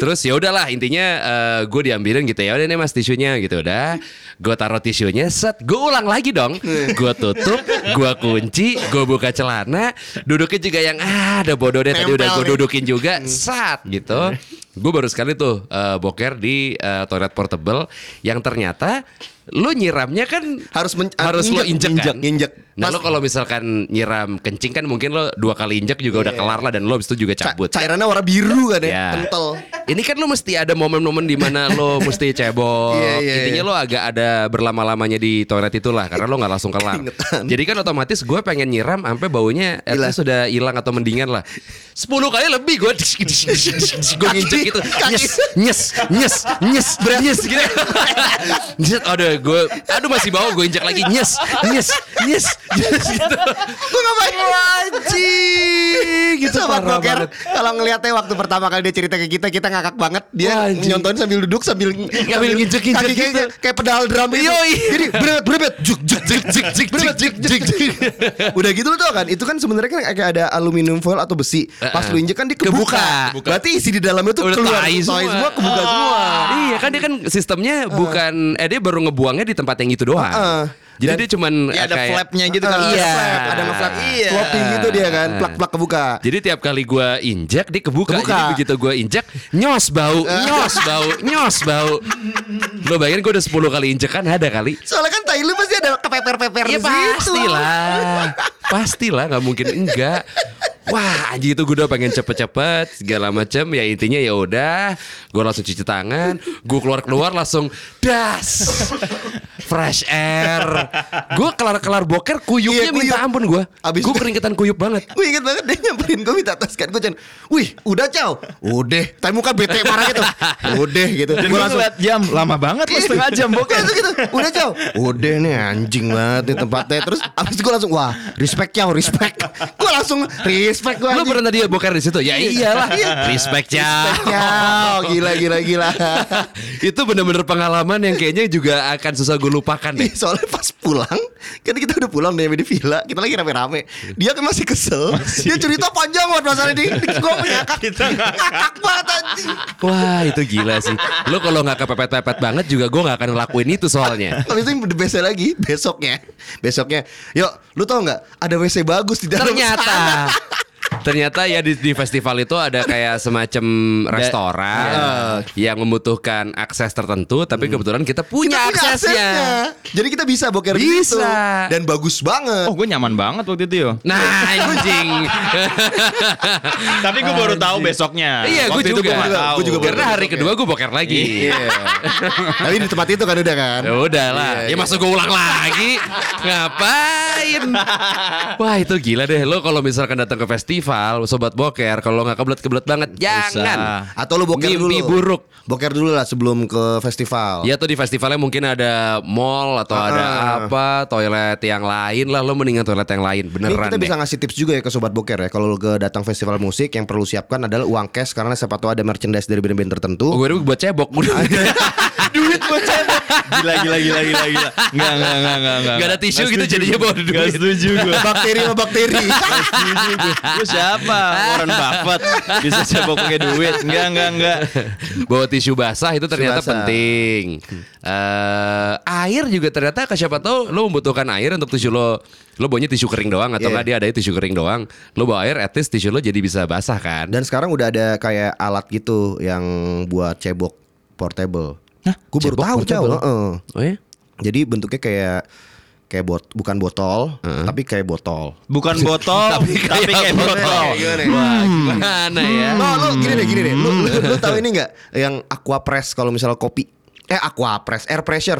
S3: Terus ya udahlah intinya gue diambilin gitu ya udah nih mas tisunya gitu udah. Gue taruh tisunya set gue ulang lagi dong. Gue tutup, gue kunci, gue buka celana, duduknya juga yang ah ada bodoh deh tadi
S2: Nempel
S3: udah gue
S2: nih. Hmm.
S3: dudukin juga sat gitu. Gue baru sekali tuh eh, boker di eh, toilet portable yang ternyata lu nyiramnya kan
S2: harus men-
S3: harus lo injek
S2: injek,
S3: kan?
S2: injek.
S3: Nah
S2: Pas-
S3: lo kalau misalkan nyiram kencing kan mungkin lo dua kali injek juga udah kelar lah dan lo abis itu juga
S2: Iya. Ca-
S3: cabut.
S2: cairannya warna biru kan ya,
S3: Ya.
S2: kental.
S3: Ini kan lo mesti ada momen-momen di mana lo mesti cebok.
S2: Iya, iya,
S3: Intinya
S2: iya.
S3: lo agak ada berlama-lamanya di toilet itulah karena lo nggak langsung kelar.
S2: Keingetan.
S3: Jadi kan otomatis gue pengen nyiram sampai baunya at
S2: Gila.
S3: least sudah hilang atau mendingan lah. 10 kali lebih gue gue nginjek gitu.
S2: Kaki-
S3: Nyes, nyes, nyes, nyes, nyes gitu. Nyes, aduh gue, aduh masih bau gue injek lagi nyes, nyes, nyes, nyes gitu.
S2: Gue ngapain?
S3: Anjing
S2: Gitu
S3: gitu
S2: Sobat
S3: parah
S2: Boker,
S3: banget.
S2: kalau ngeliatnya waktu pertama kali dia cerita ke kita, kita ngakak banget. Dia
S3: Wah, anjing.
S2: nyontoin sambil duduk, sambil sambil
S3: nginjek-nginjek
S2: kaki kayak-
S3: gitu.
S2: Kayak pedal drum gitu.
S3: Yoi.
S2: Jadi berbet, berbet, juk, juk, juk, juk, juk,
S3: Berbet,
S2: juk, juk, juk. Udah gitu lo tau kan, itu kan sebenarnya kan kayak ada aluminium foil atau besi. Pas
S3: Eh,
S2: lu injek kan dia kebuka.
S3: kebuka.
S2: Berarti isi di dalamnya tuh
S3: Udah
S2: keluar.
S3: tai semua.
S2: semua, Ah. kebuka semua.
S3: Iya kan dia kan sistemnya bukan eh dia baru ngebuangnya di tempat yang itu doang.
S2: Heeh.
S3: Jadi
S2: Dan-
S3: dia cuman
S4: Iya,
S3: eh,
S4: ada
S3: kayak-
S4: flapnya gitu
S2: Ada
S4: kan.
S3: Iya.
S2: flap, ada ngeflap.
S4: Iya.
S2: Flopping gitu dia kan, plak-plak kebuka.
S3: Jadi tiap kali gua injek dia kebuka.
S2: Kebuka.
S3: Jadi begitu gua injek nyos bau, nyos bau, nyos bau. Lo bayangin gua udah 10 kali injekan ada kali.
S2: Soalnya kan tai lu pasti ada kepeper-peper
S3: Iya
S2: di situ.
S3: pastilah Pastilah nggak mungkin enggak Wah anjing itu gue udah pengen cepet-cepet segala macam ya intinya ya udah gue langsung cuci tangan gue keluar keluar langsung das fresh air gue kelar kelar boker kuyupnya
S2: Iya, kuyup.
S3: minta ampun gue
S2: Abis
S3: gue
S2: itu-
S3: keringetan kuyup banget
S2: Gue inget banget dia nyamperin gue minta tas kan Gue cuman Wih udah caw Udah Tapi muka bete parah gitu Udah gitu
S4: Dan
S2: Gue
S4: gue
S2: langsung
S4: ngeliat jam lama banget
S3: Iya.
S4: mas setengah jam
S2: Gue
S4: boker.
S2: langsung gitu Udah caw Udah nih anjing banget nih tempatnya Terus abis itu gue langsung Wah respect caw respect Gue langsung respect gue
S3: lo pernah tadi boker di situ ya iyalah
S2: Iya.
S3: respect ya
S2: Respect caw Gila gila gila
S3: itu bener-bener pengalaman yang kayaknya juga akan susah gue lupakan deh
S2: Ih, Soalnya pas pulang Kan kita udah pulang dari di villa Kita lagi rame-rame Dia kan masih kesel Dia cerita panjang banget masalah ini Gue ngakak Ngakak banget anjing
S3: Wah itu gila sih Lo kalau gak kepepet-pepet banget juga gue gak akan ngelakuin itu soalnya
S2: Habis itu the bestnya lagi besoknya. Besoknya, yuk lu tau nggak ada WC bagus di dalam sana.
S3: Ternyata Ternyata ya di, di festival itu ada kayak semacam restoran
S2: Iya.
S3: yang membutuhkan akses tertentu, tapi kebetulan kita
S2: Hmm. Kita
S3: punya
S2: punya
S3: aksesnya.
S2: aksesnya. Jadi kita bisa boker
S3: Bisa.
S2: gitu. dan bagus banget.
S4: Oh gue nyaman banget waktu itu yo.
S3: Nah anjing.
S4: Tapi gue baru tahu besoknya.
S3: iya gue
S4: Waktu itu
S3: juga.
S4: gua nggak tahu.
S2: Gua juga baru ya.
S3: Karena hari kedua gue boker lagi.
S2: Iya. Tapi di tempat itu kan udah kan.
S3: Ya udah lah,
S2: Iya,
S3: ya
S2: iya.
S3: masuk gue ulang lagi. Ngapain? Wah itu gila deh. Lo kalau misalkan datang ke festival, sobat boker, kalau nggak kebelet-kebelet banget, jangan.
S2: Atau lu boker dulu.
S3: Mimpi buruk.
S2: Boker dulu lah sebelum ke festival.
S3: Ya tuh di festivalnya mungkin ada mall atau ada
S2: Ah.
S3: apa toilet yang lain lah. Lo mendingan toilet yang lain,
S2: Ini
S3: beneran
S2: kita
S3: deh.
S2: bisa ngasih tips juga ya ke sobat boker ya. Kalau lu ke datang festival musik yang perlu siapkan adalah uang cash karena siapa tahu ada merchandise dari band-band tertentu.
S3: Oh, gue dulu buat cebok,
S4: duit gue cebok. Gila gila gila gila gila. Enggak enggak enggak enggak enggak.
S3: Nggak ada tisu gitu, jadinya bawa duit.
S4: Gak setuju gue.
S2: bakteri sama bakteri.
S4: Lu siapa? Warren Buffett bisa cebok pakai duit. Enggak enggak enggak.
S3: bawa tisu basah itu ternyata
S2: basah.
S3: penting. Eh, air juga ternyata ke siapa tahu lo membutuhkan air untuk tisu lo. Lo bawanya tisu kering doang atau
S2: Iya.
S3: enggak dia ada tisu kering doang. Lo bawa air, at least tisu lo jadi bisa basah kan.
S2: Dan sekarang udah ada kayak alat gitu yang buat cebok portable. Nah, gue baru
S3: cebok
S2: tahu Cao.
S3: portable?
S2: heeh.
S3: Oh ya?
S2: Jadi bentuknya kayak kayak bot bukan botol, tapi kayak botol.
S4: Bukan botol, tapi kayak, botol.
S2: Gimana? ya? Hmm.
S3: Wah, gimana ya?
S2: No, lu gini deh, gini deh. Lu, lu, lu tahu ini nggak yang aqua press kalau misal kopi? Eh aqua press, air pressure.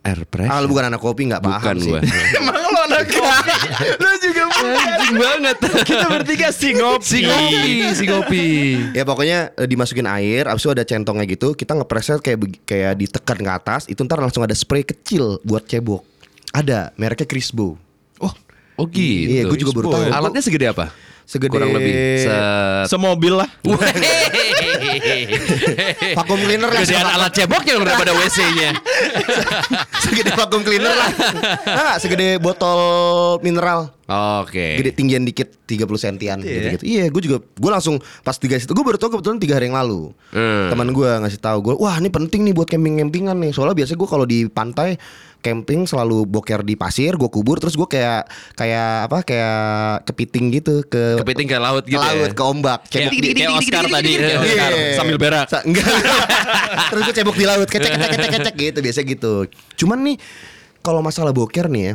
S3: air pressure.
S2: Ah, lu bukan anak kopi nggak paham
S3: Bukan
S2: sih.
S3: gua.
S4: Emang lo anak kopi? Lo juga
S3: Anjing banget.
S4: Kita bertiga sih ngopi.
S3: si kopi, si kopi.
S2: Ya pokoknya eh, dimasukin air, abis itu ada centongnya gitu, kita ngepresnya kayak beg- kayak ditekan ke atas, itu ntar langsung ada spray kecil buat cebok. Ada, mereknya Crisbo.
S4: Oh,
S3: Oh gitu.
S2: Iya, gua juga baru tahu.
S3: Alatnya segede apa?
S2: Segede-
S3: kurang lebih.
S4: semobil lah.
S2: Vacuum Eh, cleaner lah
S3: Gedean
S2: sama-
S3: alat ceboknya dong daripada WC-nya.
S2: segede vacuum cleaner lah. Enggak, segede botol mineral.
S3: Oke.
S2: Gede tinggian dikit 30 sentian gitu-gitu. Iya, gue juga gue langsung pas tiga itu gue baru tahu kebetulan tiga hari yang lalu.
S3: Hmm.
S2: Teman gue ngasih tahu gue, wah ini penting nih buat camping-campingan nih. Soalnya biasanya gue kalau di pantai camping selalu boker di pasir, gue kubur terus gue kayak kayak apa kayak kepiting gitu ke
S3: Kepiting ke laut
S2: ke
S3: gitu ya.
S2: laut, ke ombak.
S3: Kayak- kayak Oscar tadi, kayak
S2: Iya.
S3: Oscar sambil berak.
S2: Sa- enggak. Terus gue cebok di laut, kecek kecek kecek kecek gitu biasa gitu. Cuman nih kalau masalah boker nih ya,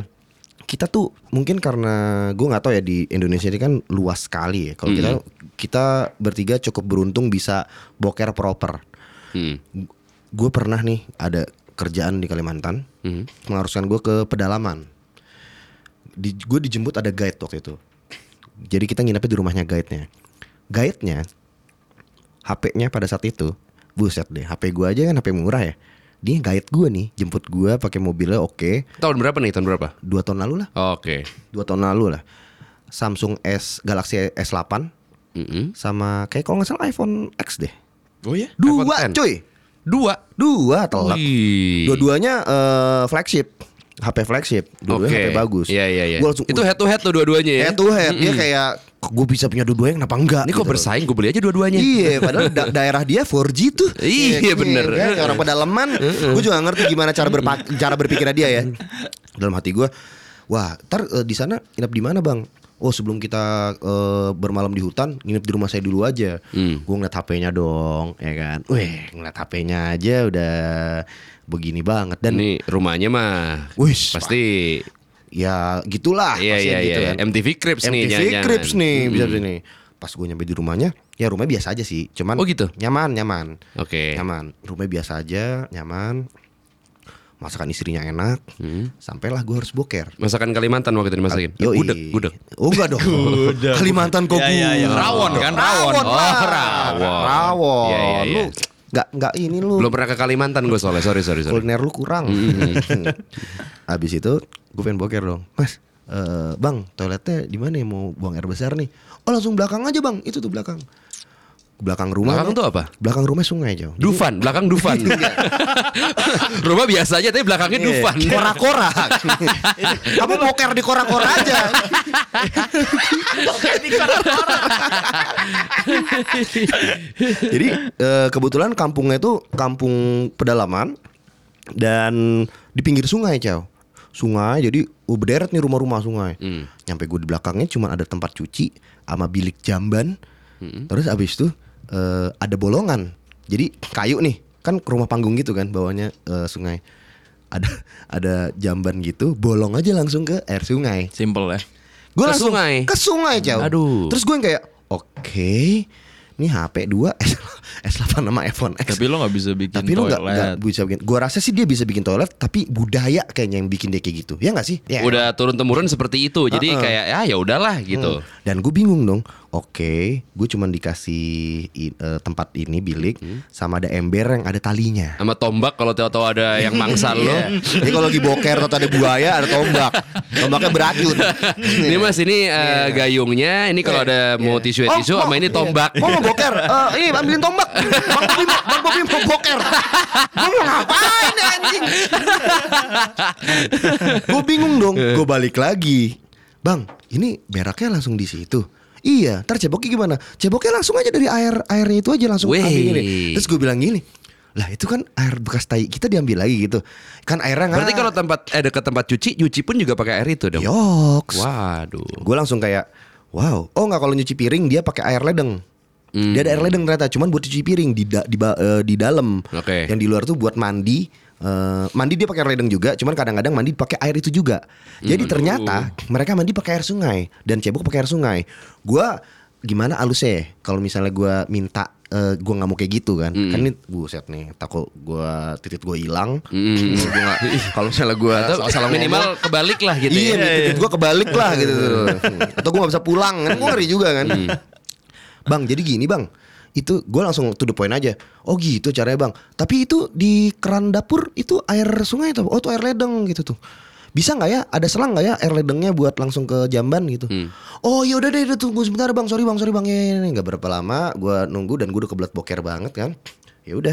S2: kita tuh mungkin karena gue nggak tahu ya di Indonesia ini kan luas sekali ya. Kalau
S3: Hmm.
S2: kita kita bertiga cukup beruntung bisa boker proper.
S3: Hmm.
S2: Gue pernah nih ada kerjaan di Kalimantan
S3: Hmm.
S2: mengharuskan gue ke pedalaman. Di, gue dijemput ada guide waktu itu. Jadi kita nginepnya di rumahnya guide-nya. Guide-nya HP-nya pada saat itu buset deh HP gue aja kan HP murah ya dia guide gue nih jemput gue pakai mobilnya oke
S3: Tahun berapa nih? Tahun berapa?
S2: dua tahun lalu lah
S3: Oke.
S2: dua tahun lalu lah Samsung S Galaxy S8
S3: Mm-mm.
S2: sama kayak kalau nggak salah iPhone X deh
S4: Oh ya?
S2: dua
S3: iPhone X.
S2: cuy
S3: Eh, Dua.
S2: dua telat
S3: Wih.
S2: dua-duanya eh, flagship HP flagship dua-duanya
S3: Oke.
S2: HP bagus
S3: Iya iya iya.
S2: Gua langsung,
S3: Itu head to head tuh dua-duanya ya.
S2: head to head dia kayak gue bisa punya dua-duanya kenapa enggak
S3: Ini kok
S2: gitu.
S3: bersaing gue beli aja dua-duanya.
S2: Iya, padahal da- daerah dia 4G tuh.
S3: Iya, bener.
S2: kan? Kayak Orang pedalaman, gue juga nggak ngerti gimana cara berpa- cara berpikirnya dia ya. Dalam hati gue, wah, ntar eh, di sana nginep di mana bang? Oh sebelum kita eh, bermalam di hutan nginep di rumah saya dulu aja.
S3: Hmm.
S2: Gue ngeliat HP-nya dong, ya kan. Weh, ngeliat HP-nya aja udah begini banget dan
S3: Ini rumahnya mah
S2: Wih,
S3: pasti
S2: ya gitulah
S3: Iya
S2: pasti
S3: iya
S2: gitu
S3: iya.
S2: kan.
S3: MTV Crips nih
S2: MTV
S3: jangan-jangan.
S2: Crips nih
S3: Mm.
S2: bisa sini. Pas gue nyampe di rumahnya, ya rumahnya biasa aja sih, cuman
S3: Oh, gitu?
S2: nyaman nyaman.
S3: Oke.
S2: Nyaman, rumahnya biasa aja, nyaman. Masakan istrinya enak.
S3: Hmm.
S2: Sampailah gue harus boker.
S3: Masakan Kalimantan waktu itu dimasakin.
S2: Yoi.
S3: Gudeg, gudeg. Iya,
S2: Oh enggak dong. Kalimantan kok.
S4: Ya, ya, ya. Rawon kan, rawon.
S2: Rawon.
S4: Oh,
S2: lah.
S3: rawon.
S2: Rawon.
S3: Ya, ya, ya.
S2: Lu enggak enggak ini lu.
S3: Belum pernah ke Kalimantan gue soalnya. Sorry sorry sorry.
S2: kuliner lu kurang. Habis itu gue pengen boker dong. Mas, eh, Bang, toiletnya di mana ya mau buang air besar nih? Oh, langsung belakang aja, Bang. Itu tuh belakang. Belakang rumah.
S3: Belakang
S2: Bang.
S3: tuh apa?
S2: Belakang rumah sungai, Jo.
S3: Dufan, belakang Dufan.
S2: Iya.
S3: Rumah biasa aja tapi belakangnya Dufan.
S2: Kora-kora. Kamu boker di kora-kora aja. Jadi eh, kebetulan kampungnya itu kampung pedalaman dan di pinggir sungai, Cao. Sungai, jadi oh, berderet nih rumah-rumah sungai. Nyampe gue di belakangnya cuma ada tempat cuci sama bilik jamban. Terus abis itu eh, ada bolongan. Jadi kayu nih, kan ke rumah panggung gitu kan bawahnya eh, sungai. Ada ada jamban gitu, bolong aja langsung ke air sungai.
S4: Simple ya.
S2: Gue
S3: Ke
S2: langsung
S3: sungai?
S2: ke sungai jauh.
S3: Aduh.
S2: Terus gue yang kayak oke, ini HP 2 S8 sama iPhone X.
S4: Tapi lo nggak bisa bikin
S2: Tapi lu nggak nggak
S4: toilet.
S2: bisa bikin. Gue rasa sih dia bisa bikin toilet, tapi budaya kayaknya yang bikin dia kayak gitu. Ya nggak sih? Ya.
S3: Udah turun temurun seperti itu. Jadi kayak ah ya udahlah gitu.
S2: Dan gue bingung dong. Oke, gue cuman dikasih i- eh, tempat ini bilik sama ada ember yang ada talinya.
S3: Sama tombak kalau tahu-tahu ada yang mangsa lo.
S2: Iya. Jadi kalau lagi boker atau ada buaya ada tombak. Tombaknya beracun.
S3: Ini mas ini eh,
S2: Iya.
S3: gayungnya. Ini kalau ada mau tisu ya
S2: Oh,
S3: tisu sama ini tombak.
S2: Mau, mau boker. Eh, ini ambilin tombak. Bang Bobi mau, Bang Bobi mau boker. Gue mau ngapain ya, anjing? gue bingung dong.
S3: Eh.
S2: Gue balik lagi. Bang, ini beraknya langsung di situ. Iya, ntar ceboknya gimana? Ceboknya langsung aja dari air airnya itu aja langsung
S3: Weh.
S2: ambil gini. Terus gue bilang gini, lah itu kan air bekas tai kita diambil lagi gitu. Kan airnya nggak.
S3: Berarti kalau tempat eh dekat tempat cuci, nyuci pun juga pakai air itu dong.
S2: yoks.
S3: Waduh.
S2: Gue langsung kayak wow. Oh nggak kalau nyuci piring dia pakai air ledeng.
S3: Hmm.
S2: Dia ada air ledeng ternyata, cuman buat cuci piring di da- di, ba- eh, di dalam.
S3: Oke.
S2: Yang di luar tuh buat mandi. Eh, mandi dia pakai air ledeng juga, cuman kadang-kadang mandi pakai air itu juga. Jadi
S3: Hmm,
S2: ternyata mereka mandi pakai air sungai dan cebok pakai air sungai. Gua gimana alusnya? ya? Kalau misalnya gua minta eh, gue nggak mau kayak gitu kan
S3: Hmm.
S2: kan ini buset nih takut gue titik gue hilang
S3: Mm.
S2: Gua nggak- kalau misalnya gue
S3: Atau
S2: salah
S3: minimal
S2: minimal
S3: kebalik lah gitu
S2: iya,
S3: ya.
S2: titik gue kebalik lah gitu tuh. atau gue nggak bisa pulang kan gue ngeri juga kan
S3: Iya.
S2: bang jadi gini bang itu gue langsung to the point aja oh gitu caranya bang tapi itu di keran dapur itu air sungai tuh oh itu air ledeng gitu tuh bisa nggak ya ada selang nggak ya air ledengnya buat langsung ke jamban gitu
S3: Hmm.
S2: oh ya udah deh udah tunggu sebentar bang sorry bang sorry bang ya, ya, ya. nggak berapa lama gue nunggu dan gue udah kebelet boker banget kan ya udah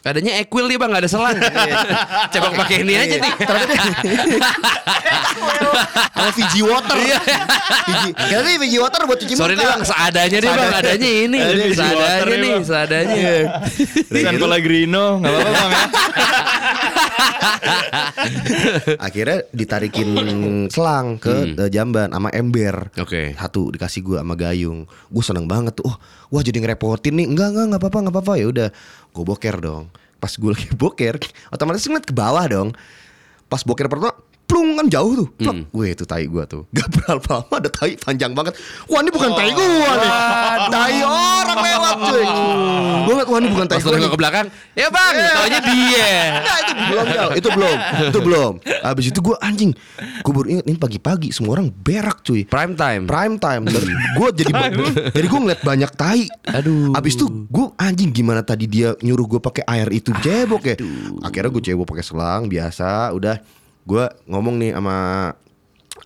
S3: Adanya equil nih bang, gak ada selang.
S2: Iya.
S3: Coba pakai ini aja nih.
S2: Ternyata dia Sama Fiji water Fiji Kira Fiji water buat cuci
S3: Iya. Sorry
S2: muka
S3: nih bang, seadanya nih bang,
S2: Seadanya.
S3: adanya ini,
S4: Adanya di water
S3: seadanya
S4: nih,
S3: nih,
S4: Bang.
S3: seadanya.
S2: Iya.
S3: kan
S4: Bukan Pellegrino, nggak apa-apa bang ya.
S2: Akhirnya ditarikin selang ke eh, jamban sama ember.
S3: Hmm. Oke.
S2: Satu dikasih gua sama gayung. Gue seneng banget tuh. Oh, wah jadi ngerepotin nih. Enggak enggak enggak apa-apa enggak apa-apa ya udah. Gue boker dong. Pas gue lagi boker, otomatis ngeliat ke bawah dong. Pas boker pertama, plung kan jauh tuh. Plak.
S3: Hmm.
S2: Wih, itu tai gua tuh. Gak berapa lama ada tai panjang banget. Wah, ini bukan tai gua nih. Tai orang lewat cuy. Gue ngeliat wah ini bukan tai
S3: Pas lu
S2: gua. nih.
S3: nengok ke belakang, ya bang,
S2: Iya.
S3: taunya dia.
S2: Enggak itu belum Jal. itu belum itu belum abis itu gue anjing gue baru inget ini pagi-pagi semua orang berak cuy
S3: Prime time.
S2: prime time dan gue jadi jadi gue ngeliat banyak tai
S3: Aduh.
S2: abis itu gue anjing gimana tadi dia nyuruh gue pakai air itu cebok ya akhirnya gue cebok pakai selang biasa udah gue ngomong nih sama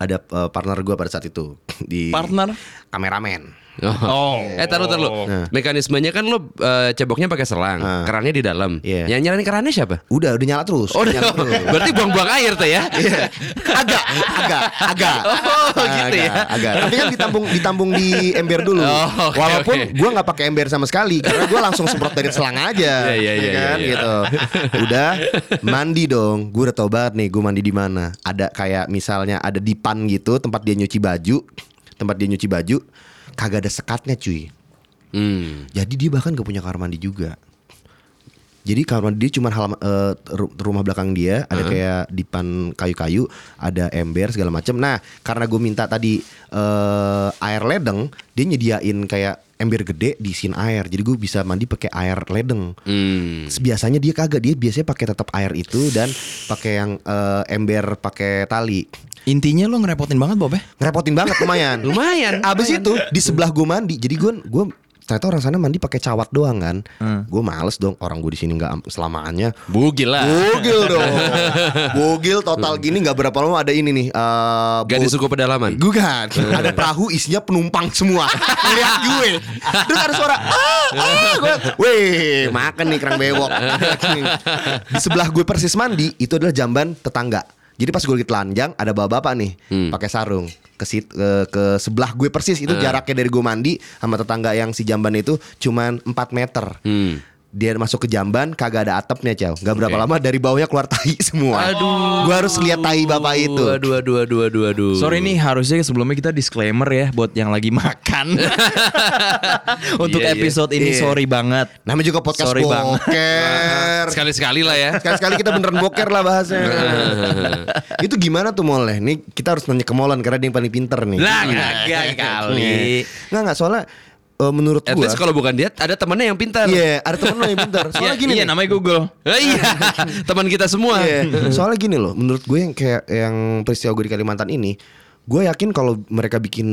S2: ada eh, partner gue pada saat itu di
S3: Partner?
S2: kameramen
S3: Oh. Eh taruh taruh.
S2: Nah.
S3: Mekanismenya kan lo eh, ceboknya pakai selang,
S2: Ah.
S3: kerannya di dalam.
S2: Iya.
S3: Yang nyalain kerannya siapa?
S2: udah udah nyala terus
S3: Oh,
S2: nyala
S3: udah.
S2: terus.
S3: berarti buang-buang air tuh ya?
S2: Iya. agak, agak, agak.
S3: Oh, gitu ya.
S2: Agak, agak. Tapi kan ditambung ditambung di ember dulu.
S3: Oh, oke,
S2: Walaupun
S3: oke.
S2: gua nggak pakai ember sama sekali karena gua langsung semprot dari selang aja.
S3: Iya, iya,
S2: ya
S3: iya,
S2: kan
S3: iya, iya.
S2: gitu. Udah mandi dong. Gua udah tau banget nih gua mandi di mana. Ada kayak misalnya ada di pan gitu tempat dia nyuci baju, tempat dia nyuci baju kagak ada sekatnya cuy.
S3: Hmm.
S2: Jadi dia bahkan gak punya kamar mandi juga. Jadi kamar mandi dia cuma halaman eh, ru- rumah belakang dia ada kayak dipan kayu-kayu, ada ember segala macam. Nah, karena gue minta tadi eh, air ledeng, dia nyediain kayak ember gede diisiin air. Jadi gue bisa mandi pakai air ledeng.
S3: Hmm.
S2: Biasanya dia kagak, dia biasanya pakai tetap air itu dan pakai yang eh, ember pakai tali.
S4: Intinya lo ngerepotin banget Bob ya.
S2: Ngerepotin banget lumayan.
S3: Lumayan.
S2: Abis itu di sebelah gue mandi. Jadi gue gue ternyata orang sana mandi pakai cawat doang kan.
S3: Hmm.
S2: Gue males dong orang gue di sini nggak am- selamaannya.
S3: Bugil lah.
S2: Bogil dong. Bogil total gini nak berapa lama ada ini nih. eh,
S3: Gadis
S2: boat-
S3: suku pedalaman.
S2: Bukan. ada perahu isinya penumpang semua. Lihat gue. Terus ada suara. Ah, ah. Gue, Weh, makan nih kerang bewok. Di sebelah gue persis mandi itu adalah jamban tetangga. Jadi pas gue lagi telanjang ada bapak-bapak nih
S3: Hmm.
S2: pakai sarung ke, sit- ke ke sebelah gue persis
S3: Ah.
S2: itu jaraknya dari gue mandi sama tetangga yang si jamban itu cuman 4 meter.
S3: Hmm.
S2: Dia masuk ke jamban kagak ada atapnya, Ciao. Gak berapa
S3: Oke.
S2: lama dari bawahnya keluar tai semua. Aduh. Gue harus lihat tai bapak itu.
S3: Aduh, aduh, aduh, aduh, aduh.
S4: Sorry nih harusnya sebelumnya kita disclaimer ya buat yang lagi makan. Untuk
S3: Iya, iya.
S4: episode ini
S2: Iya.
S4: sorry banget.
S2: Namanya juga podcast
S4: Sorry, Bang.
S2: boker.
S3: Sekali-sekali lah ya.
S2: Sekali-sekali kita beneran boker lah bahasnya. itu gimana tuh Moleh? Nih kita harus nanya ke Molan karena dia yang paling pinter nih. Iya.
S3: Lah, kagak kali.
S2: Nggak nggak soalnya eh, menurut
S3: At
S2: gua.
S3: least kalau bukan dia, ada temannya yang pintar.
S2: Iya, ada temen lo yang pinter. Soalnya
S3: iya,
S2: gini nih.
S4: namanya Google.
S3: Eh, iya, teman kita semua.
S2: Iya. Soalnya gini loh, menurut gue yang kayak yang peristiwa gue di Kalimantan ini, gue yakin kalau mereka bikin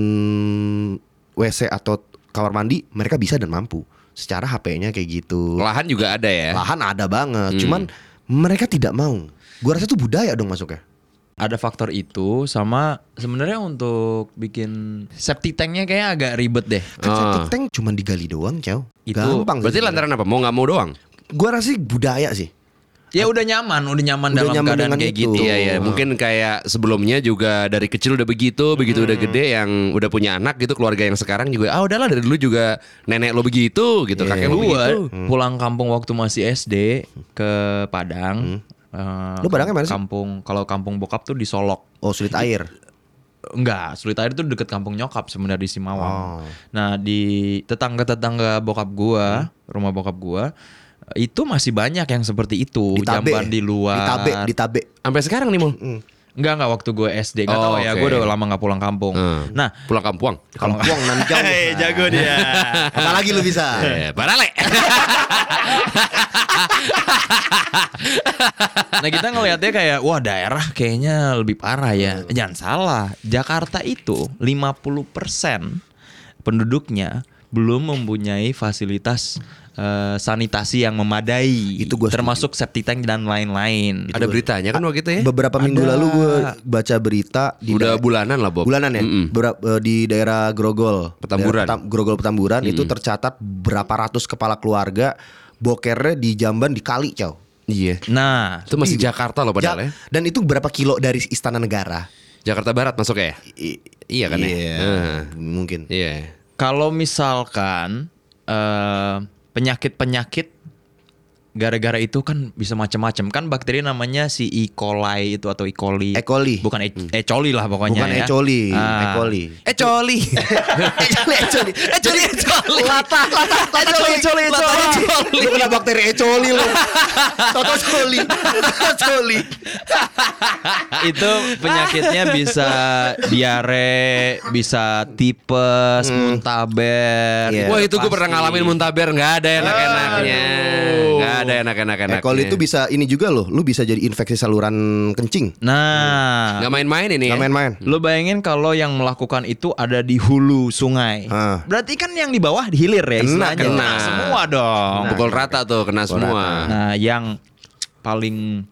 S2: WC atau kamar mandi, mereka bisa dan mampu. Secara HP-nya kayak gitu.
S3: Lahan juga ada ya.
S2: Lahan ada
S4: Hmm.
S2: banget, cuman mereka tidak mau. Gue rasa itu budaya dong masuknya.
S4: Ada faktor itu sama sebenarnya untuk bikin septic tanknya kayak agak ribet deh.
S2: Kan
S3: Ah.
S2: septic tank cuman digali doang, Cao.
S4: Itu
S2: Gampang.
S3: Berarti lantaran apa? Mau nggak mau doang.
S2: gue rasa sih budaya sih.
S4: Ya udah nyaman, udah nyaman
S2: Udah
S4: dalam
S2: nyaman
S4: keadaan
S2: dengan
S4: kayak
S2: itu.
S4: gitu.
S3: Iya iya, mungkin kayak sebelumnya juga dari kecil udah begitu, begitu udah gede yang udah punya anak gitu, keluarga yang sekarang juga ah udahlah dari dulu juga nenek lo begitu gitu, kakek lo
S4: Gua
S3: begitu.
S2: Hmm.
S4: pulang kampung waktu masih SD ke Padang. eh,
S2: Hmm. Lu Padangnya mana sih?
S4: Kampung kalau kampung bokap tuh di Solok.
S2: Oh, sulit air.
S4: Enggak, Sulit Air itu deket kampung nyokap sebenarnya di Simawang.
S2: Oh.
S4: Nah, di tetangga-tetangga bokap gua, rumah bokap gua, itu masih banyak yang seperti itu,
S2: Ditabe.
S4: jamban di luar.
S2: Ditabe, ditabe.
S3: Sampai sekarang nih mau.
S4: Enggak enggak waktu gue SD Enggak
S3: Oh,
S4: tahu ya
S3: oke.
S4: gue udah lama nggak pulang kampung.
S3: Hmm.
S4: Nah,
S3: Pulang kampung.
S4: kalau
S2: Buang nan jauh.
S4: Hei, jago dia.
S2: Apalagi lu
S4: Iya.
S2: bisa.
S3: Eh, Barale.
S4: nah kita ngelihatnya kayak wah daerah kayaknya lebih parah ya. Jangan salah, Jakarta itu 50% penduduknya belum mempunyai fasilitas eh, sanitasi yang memadai.
S2: Itu gua setuju.
S4: termasuk septic tank dan lain-lain.
S3: Ada beritanya kan waktu itu ya?
S2: Beberapa minggu
S4: Ada.
S2: lalu gue baca berita di
S3: Udah
S2: daer-
S3: bulanan lah Bob.
S2: bulanan ya
S3: Mm-mm.
S2: Berap- eh, di daerah Grogol
S3: Petamburan.
S2: Daerah Petam- Grogol Petamburan itu tercatat berapa ratus kepala keluarga bokernya di Jamban di kali cow
S3: Iya.
S4: Nah,
S3: Itu masih Jakarta loh
S2: Ja-
S3: padahal ya.
S2: dan itu berapa kilo dari Istana Negara
S3: Jakarta Barat masuknya ya?
S2: I-
S3: Iya kan ya?
S2: iya,
S3: Heeh.
S2: mungkin
S3: Iya.
S4: kalau misalkan eh, penyakit-penyakit gara-gara itu kan bisa macam-macam kan bakteri namanya si E. coli itu atau E. coli.
S2: E. coli.
S4: Bukan E. E. coli lah pokoknya
S2: bukan E.
S4: ya.
S2: Ecoli
S4: Ah.
S2: Ecoli
S3: Eh coli.
S2: Ecoli Ecoli Ecoli Ecoli
S4: Lata, lata,
S2: Eh,
S4: lata, coli, coli, coli.
S2: Lu kena bakteri Ecoli lu Toto Coli Toto Coli
S4: itu penyakitnya
S2: Ah.
S4: bisa diare, bisa tipes, muntaber.
S2: Hmm. Iya.
S3: Wah itu gue pernah
S4: Pasti.
S3: ngalamin muntaber nggak ada enak-enaknya, nggak ada enak-enak-enak.
S2: E. coli itu bisa ini juga loh Lu bisa jadi infeksi saluran kencing
S4: Nah,
S3: nggak main-main ini.
S2: Gak
S3: ya?
S2: main-main
S4: Hmm. Lo bayangin kalau yang melakukan itu ada di hulu sungai.
S2: Ah.
S4: Berarti kan yang di bawah hilir ya
S2: Kena,
S4: istilahnya.
S3: kena.
S4: Semua dong.
S3: Oh, Pukul rata tuh kena semua.
S4: Nah, yang paling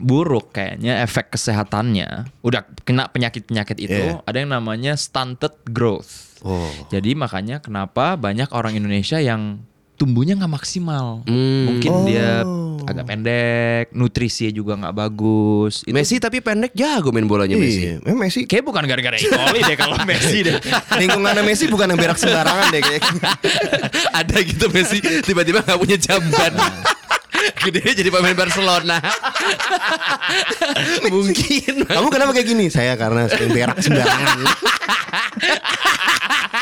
S4: buruk kayaknya efek kesehatannya udah kena penyakit-penyakit itu
S2: Iya.
S4: ada yang namanya stunted growth.
S2: Oh.
S4: Jadi makanya kenapa banyak orang Indonesia yang tumbuhnya nggak maksimal.
S3: Hmm.
S4: Mungkin
S2: Oh.
S4: dia agak pendek, nutrisinya juga nggak bagus. Itu
S3: Messi tapi pendek jago main bolanya Messi.
S2: Iya, memang Messi
S4: kayak bukan gara-gara E. coli deh kalau Messi deh.
S2: lingkungannya Messi bukan yang berak sembarangan deh kayaknya.
S3: ada gitu Messi tiba-tiba nggak punya jamban. Gede jadi pemain Barcelona. Mungkin.
S2: Kamu kenapa kayak gini? Saya karena sering berak sembarangan.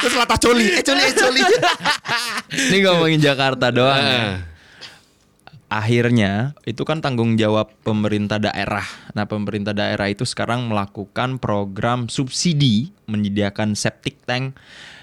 S2: Terus latah coli, eh coli, eh coli.
S4: Ini ngomongin Jakarta doang. ya.
S3: Heeh.
S4: Akhirnya itu kan tanggung jawab pemerintah daerah. Nah, pemerintah daerah itu sekarang melakukan program subsidi menyediakan septic tank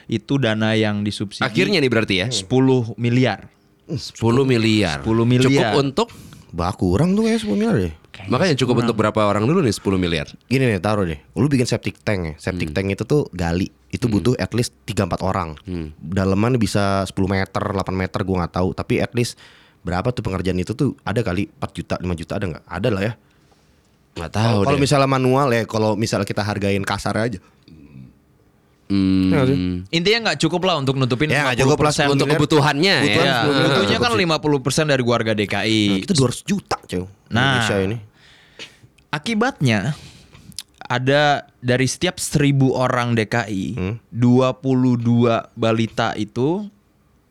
S4: itu dana yang disubsidi
S3: Akhirnya nih berarti ya.
S4: 10 miliar.
S3: 10 miliar.
S4: 10 Iya. miliar.
S3: Cukup untuk
S2: Bah kurang tuh ya 10 miliar deh.
S3: makanya cukup untuk berapa orang dulu nih 10 miliar?
S2: Gini nih taruh deh, lu bikin septic tank ya. Septic tank itu tuh gali, itu butuh at least 3-4 orang. Daleman bisa 10 meter, 8 meter gua nggak tahu, tapi at least berapa tuh pengerjaan itu tuh ada kali 4 juta, 5 juta ada nggak? Ada lah ya.
S3: Nggak tahu
S2: Kalau
S3: Oh, deh.
S2: misalnya manual ya, kalau misalnya kita hargain kasar aja.
S3: Hmm.
S2: Iya nggak sih?
S4: Intinya nggak cukup lah untuk nutupin
S2: Ya, nggak
S4: 50%
S2: cukup lah
S3: untuk
S2: miliar.
S3: kebutuhannya ya.
S4: Iya,
S2: Kebutuhan 10 miliar.
S4: butuhnya kan 50% dari warga DKI.
S2: Itu 200 juta cuy.
S4: Nah.
S2: Indonesia ini.
S4: Akibatnya ada dari setiap 1000 orang DKI,
S2: Hmm.
S4: 22 balita itu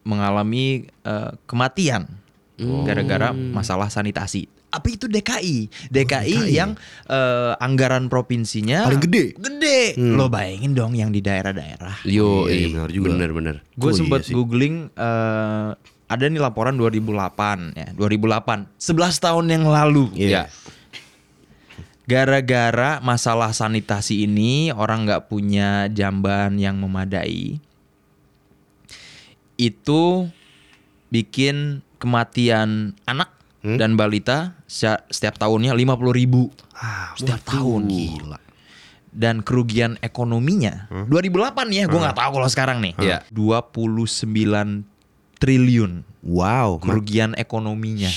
S4: mengalami eh, kematian
S2: Oh.
S4: gara-gara masalah sanitasi. Apa itu DKI? DKI, yang eh, anggaran provinsinya
S2: Paling gede. Hmm.
S4: Gede. Lo bayangin dong yang di daerah-daerah.
S3: Yo,
S2: Iya,
S3: iya, benar
S2: benar juga.
S3: Bener-bener.
S4: Gue
S2: Oh, iya
S4: sempet
S2: sih.
S4: googling eh, ada nih laporan 2008 ya, 2008. 11 tahun yang lalu. ya.
S3: Iya.
S4: Gara-gara masalah sanitasi ini orang nggak punya jamban yang memadai. Itu bikin kematian anak dan balita se- setiap tahunnya 50 ribu
S2: Ah,
S4: setiap tahun.
S2: Gila.
S4: Dan kerugian ekonominya 2008 ya, gue nggak tahu kalau sekarang nih. Ya.
S3: Iya.
S4: 29 triliun
S2: Wow.
S4: kerugian ekonominya.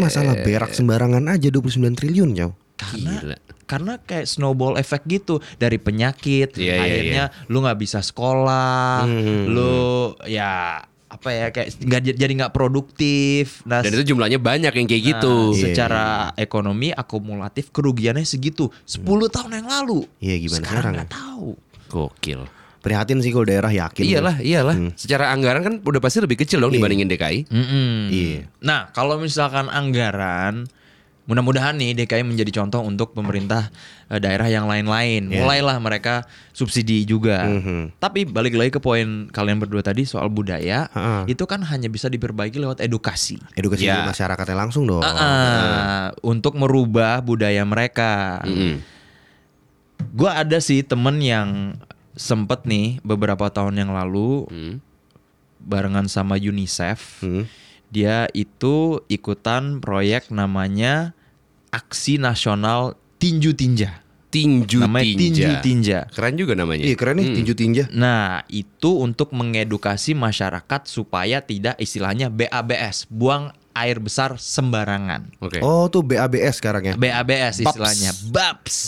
S2: Masalah berak sembarangan aja 29 triliun jauh.
S4: karena
S3: Gila.
S4: karena kayak snowball effect gitu dari penyakit
S3: Iya, iya, Hmm,
S4: akhirnya lu nggak bisa sekolah lu ya apa ya kayak nggak j- jadi nggak produktif nah,
S3: Dan itu jumlahnya banyak yang kayak gitu.
S4: nah, secara ekonomi akumulatif kerugiannya segitu 10
S3: Hmm.
S4: tahun yang lalu
S2: Iya, gimana sekarang
S4: sekarang nggak
S2: ya?
S4: tahu
S3: Gokil.
S2: Prihatin sih kalau daerah yakin.
S3: Iyalah, iyalah. iya Secara anggaran kan udah pasti lebih kecil dong dibandingin DKI.
S4: Mm-mm.
S2: Iya.
S4: Nah, kalau misalkan anggaran, mudah-mudahan nih DKI menjadi contoh untuk pemerintah eh, daerah yang lain-lain.
S2: Iya.
S4: Mulailah mereka subsidi juga.
S2: Mm-hmm.
S4: Tapi balik lagi ke poin kalian berdua tadi soal budaya,
S2: Ha-ha.
S4: itu kan hanya bisa diperbaiki lewat edukasi.
S2: Edukasi
S3: Iya.
S2: masyarakatnya langsung dong.
S4: Ah, untuk merubah budaya mereka.
S3: Mm-mm.
S4: Gue ada sih temen yang sempet nih beberapa tahun yang lalu
S3: Hmm.
S4: barengan sama UNICEF.
S3: Mm.
S2: Hmm.
S4: Dia itu ikutan proyek namanya Aksi Nasional Tinju Tinja.
S3: Tinju
S4: namanya Tinju
S3: Tinja.
S4: Tinja.
S3: Keren juga namanya.
S2: Iya keren nih tinju tinja.
S4: Nah, itu untuk mengedukasi masyarakat supaya tidak istilahnya BABS, buang air besar sembarangan.
S3: Oke.
S2: Oh tuh BABS sekarang ya. Baps.
S4: BABS istilahnya. Baps.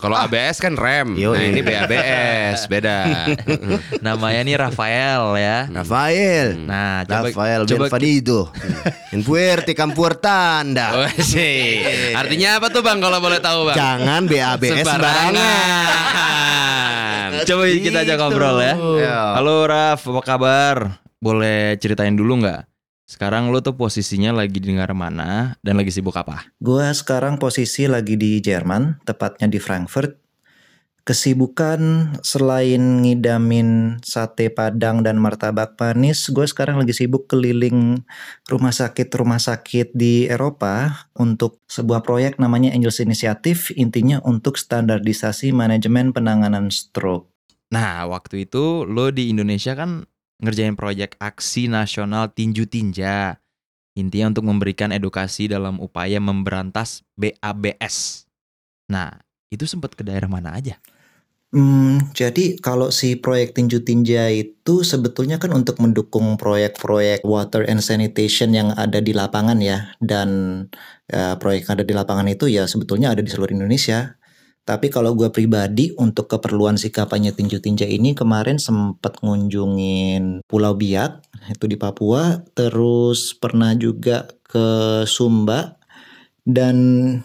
S3: Kalau ABS kan rem.
S2: Yoi.
S3: Nah, ini BABS, beda.
S4: Namanya nih Rafael ya.
S2: Rafael.
S4: Nah, coba-
S2: Rafael
S4: coba-
S2: Benvenido. En puerte campur tanda.
S3: Oh, sih. Artinya apa tuh Bang kalau boleh tahu, Bang?
S2: Jangan BABS sembarangan.
S4: Coba kita ajak
S2: Gitu.
S4: ngobrol ya.
S2: Iya.
S4: Halo Raf, apa kabar? Boleh ceritain dulu nggak? Sekarang lo tuh posisinya lagi di negara mana dan lagi sibuk apa?
S1: Gua sekarang posisi lagi di Jerman, tepatnya di Frankfurt. Kesibukan selain ngidamin sate padang dan martabak manis, gue sekarang lagi sibuk keliling rumah sakit-rumah sakit di Eropa untuk sebuah proyek namanya Angels Initiative, intinya untuk standarisasi manajemen penanganan stroke.
S4: Nah, waktu itu lo di Indonesia kan ngerjain proyek aksi nasional tinju tinja. Intinya untuk memberikan edukasi dalam upaya memberantas BABS. Nah, itu sempat ke daerah mana aja?
S1: Hmm, jadi kalau si proyek Tinju Tinja itu sebetulnya kan untuk mendukung proyek-proyek water and sanitation yang ada di lapangan ya. Dan eh, proyek yang ada di lapangan itu ya sebetulnya ada di seluruh Indonesia. Tapi kalau gue pribadi untuk keperluan si kampanye Tinju Tinja ini kemarin sempat ngunjungin Pulau Biak itu di Papua. Terus pernah juga ke Sumba. Dan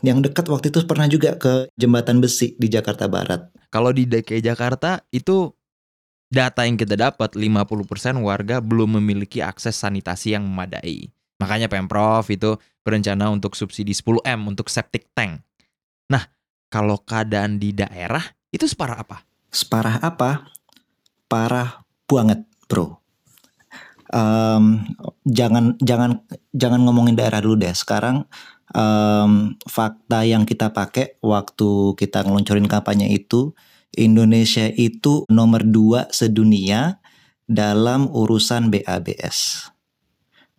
S1: yang dekat waktu itu pernah juga ke Jembatan Besi di Jakarta Barat.
S4: Kalau di DKI Jakarta itu data yang kita dapat 50% warga belum memiliki akses sanitasi yang memadai. Makanya Pemprov itu berencana untuk subsidi 10M untuk septic tank. Nah, kalau keadaan di daerah itu separah apa?
S1: Separah apa? Parah banget, bro. Em, jangan jangan jangan ngomongin daerah dulu deh. Sekarang em, fakta yang kita pakai waktu kita ngeluncurin kampanye itu, Indonesia itu nomor dua sedunia dalam urusan BABS.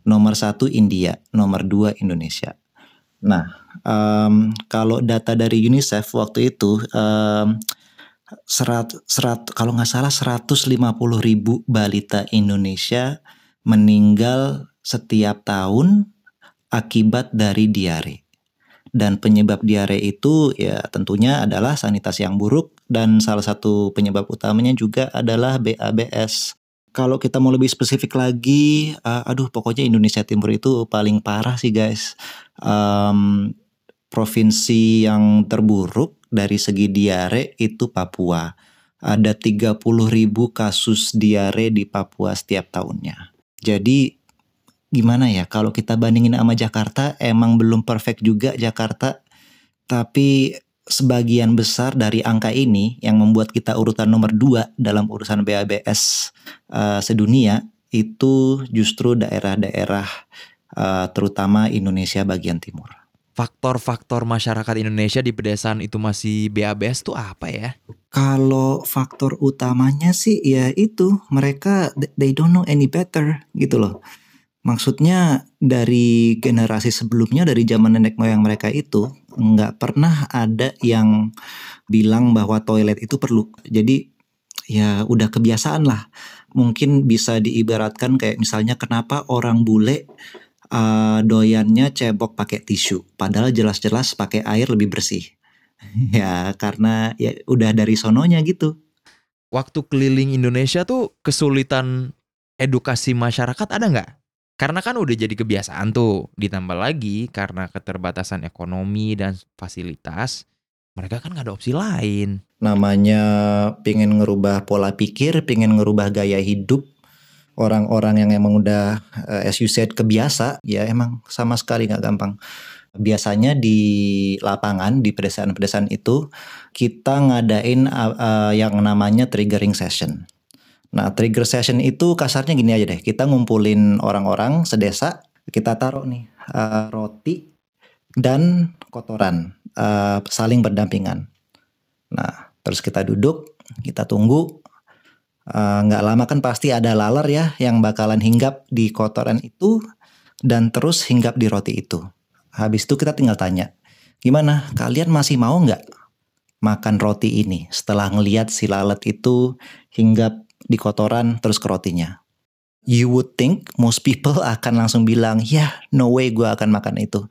S1: Nomor satu India, nomor dua Indonesia. Nah, em, kalau data dari UNICEF waktu itu em, serat, serat, kalau nggak salah 150 ribu balita Indonesia meninggal setiap tahun akibat dari diare. Dan penyebab diare itu ya tentunya adalah sanitasi yang buruk dan salah satu penyebab utamanya juga adalah BABS. Kalau kita mau lebih spesifik lagi, eh, aduh pokoknya Indonesia Timur itu paling parah sih guys. Em, provinsi yang terburuk dari segi diare itu Papua. Ada 30.000 kasus diare di Papua setiap tahunnya. Jadi gimana ya kalau kita bandingin sama Jakarta emang belum perfect juga Jakarta tapi sebagian besar dari angka ini yang membuat kita urutan nomor 2 dalam urusan BABS eh, sedunia itu justru daerah-daerah eh, terutama Indonesia bagian timur.
S4: faktor-faktor masyarakat Indonesia di pedesaan itu masih BABS tuh apa ya?
S1: Kalau faktor utamanya sih ya itu mereka th- they don't know any better gitu loh. Maksudnya dari generasi sebelumnya dari zaman nenek moyang mereka itu nggak pernah ada yang bilang bahwa toilet itu perlu. Jadi ya udah kebiasaan lah. Mungkin bisa diibaratkan kayak misalnya kenapa orang bule eh, doyannya cebok pakai tisu, padahal jelas-jelas pakai air lebih bersih. ya karena ya udah dari sononya gitu.
S4: Waktu keliling Indonesia tuh kesulitan edukasi masyarakat ada nggak? Karena kan udah jadi kebiasaan tuh, ditambah lagi karena keterbatasan ekonomi dan fasilitas, mereka kan nggak ada opsi lain.
S1: namanya pingin ngerubah pola pikir, pingin ngerubah gaya hidup orang-orang yang emang udah eh, as you said kebiasa ya emang sama sekali nggak gampang. Biasanya di lapangan di pedesaan-pedesaan itu kita ngadain eh, eh, yang namanya triggering session. Nah, trigger session itu kasarnya gini aja deh. Kita ngumpulin orang-orang sedesa, kita taruh nih eh, roti dan kotoran eh, saling berdampingan. Nah, Terus kita duduk, kita tunggu. Eh, Nggak lama kan pasti ada laler ya yang bakalan hinggap di kotoran itu dan terus hinggap di roti itu. Habis itu kita tinggal tanya, gimana kalian masih mau nggak makan roti ini setelah ngelihat si lalat itu hinggap di kotoran terus ke rotinya? You would think most people akan langsung bilang, ya no way gue akan makan itu.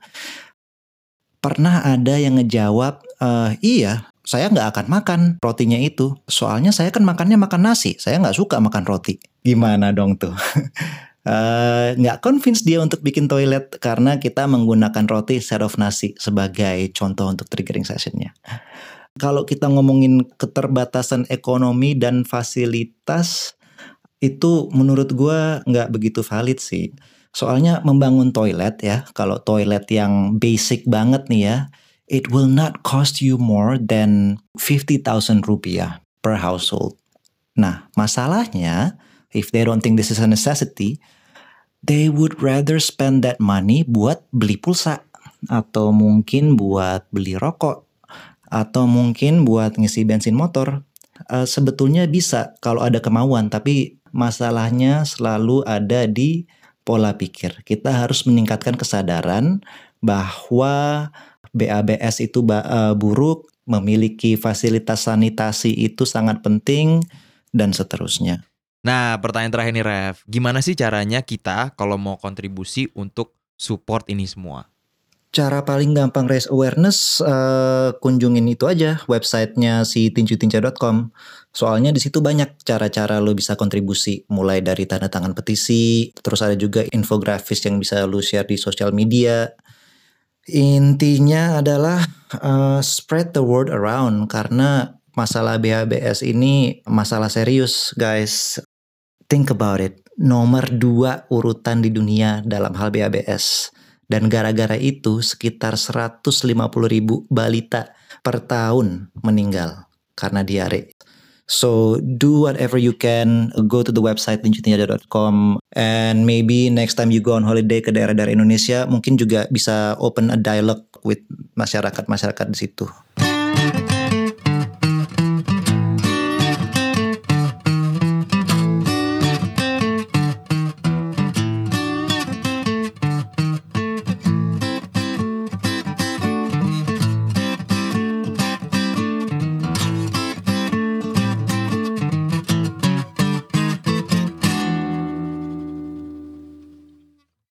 S1: Pernah ada yang ngejawab, "Eh, iya saya nggak akan makan rotinya itu. Soalnya saya kan makannya makan nasi, saya nggak suka makan roti. Gimana dong tuh? Eh, nggak convince dia untuk bikin toilet karena kita menggunakan roti instead of nasi sebagai contoh untuk triggering sessionnya. Kalau kita ngomongin keterbatasan ekonomi dan fasilitas itu menurut gua nggak begitu valid sih. Soalnya membangun toilet ya, kalau toilet yang basic banget nih ya, it will not cost you more than 50.000 rupiah per household. Nah, masalahnya if they don't think this is a necessity, they would rather spend that money buat beli pulsa atau mungkin buat beli rokok atau mungkin buat ngisi bensin motor. Eh, sebetulnya bisa kalau ada kemauan, tapi masalahnya selalu ada di pola pikir. Kita harus meningkatkan kesadaran bahwa BABS itu ba- eh, buruk, memiliki fasilitas sanitasi itu sangat penting dan seterusnya.
S6: Nah, pertanyaan terakhir nih Ref, gimana sih caranya kita kalau mau kontribusi untuk support ini semua?
S1: Cara paling gampang raise awareness eh, kunjungin itu aja websitenya si tinjutinca.com. Soalnya di situ banyak cara-cara lo bisa kontribusi, mulai dari tanda tangan petisi, terus ada juga infografis yang bisa lo share di sosial media. Intinya adalah eh, spread the word around karena masalah BHBS ini masalah serius, guys. Think about it. Nomor dua urutan di dunia dalam hal BHBS. Dan gara-gara itu sekitar 150 ribu balita per tahun meninggal karena diare. So do whatever you can, go to the website linjutinjada.com and maybe next time you go on holiday ke daerah-daerah Indonesia mungkin juga bisa open a dialogue with masyarakat-masyarakat di situ.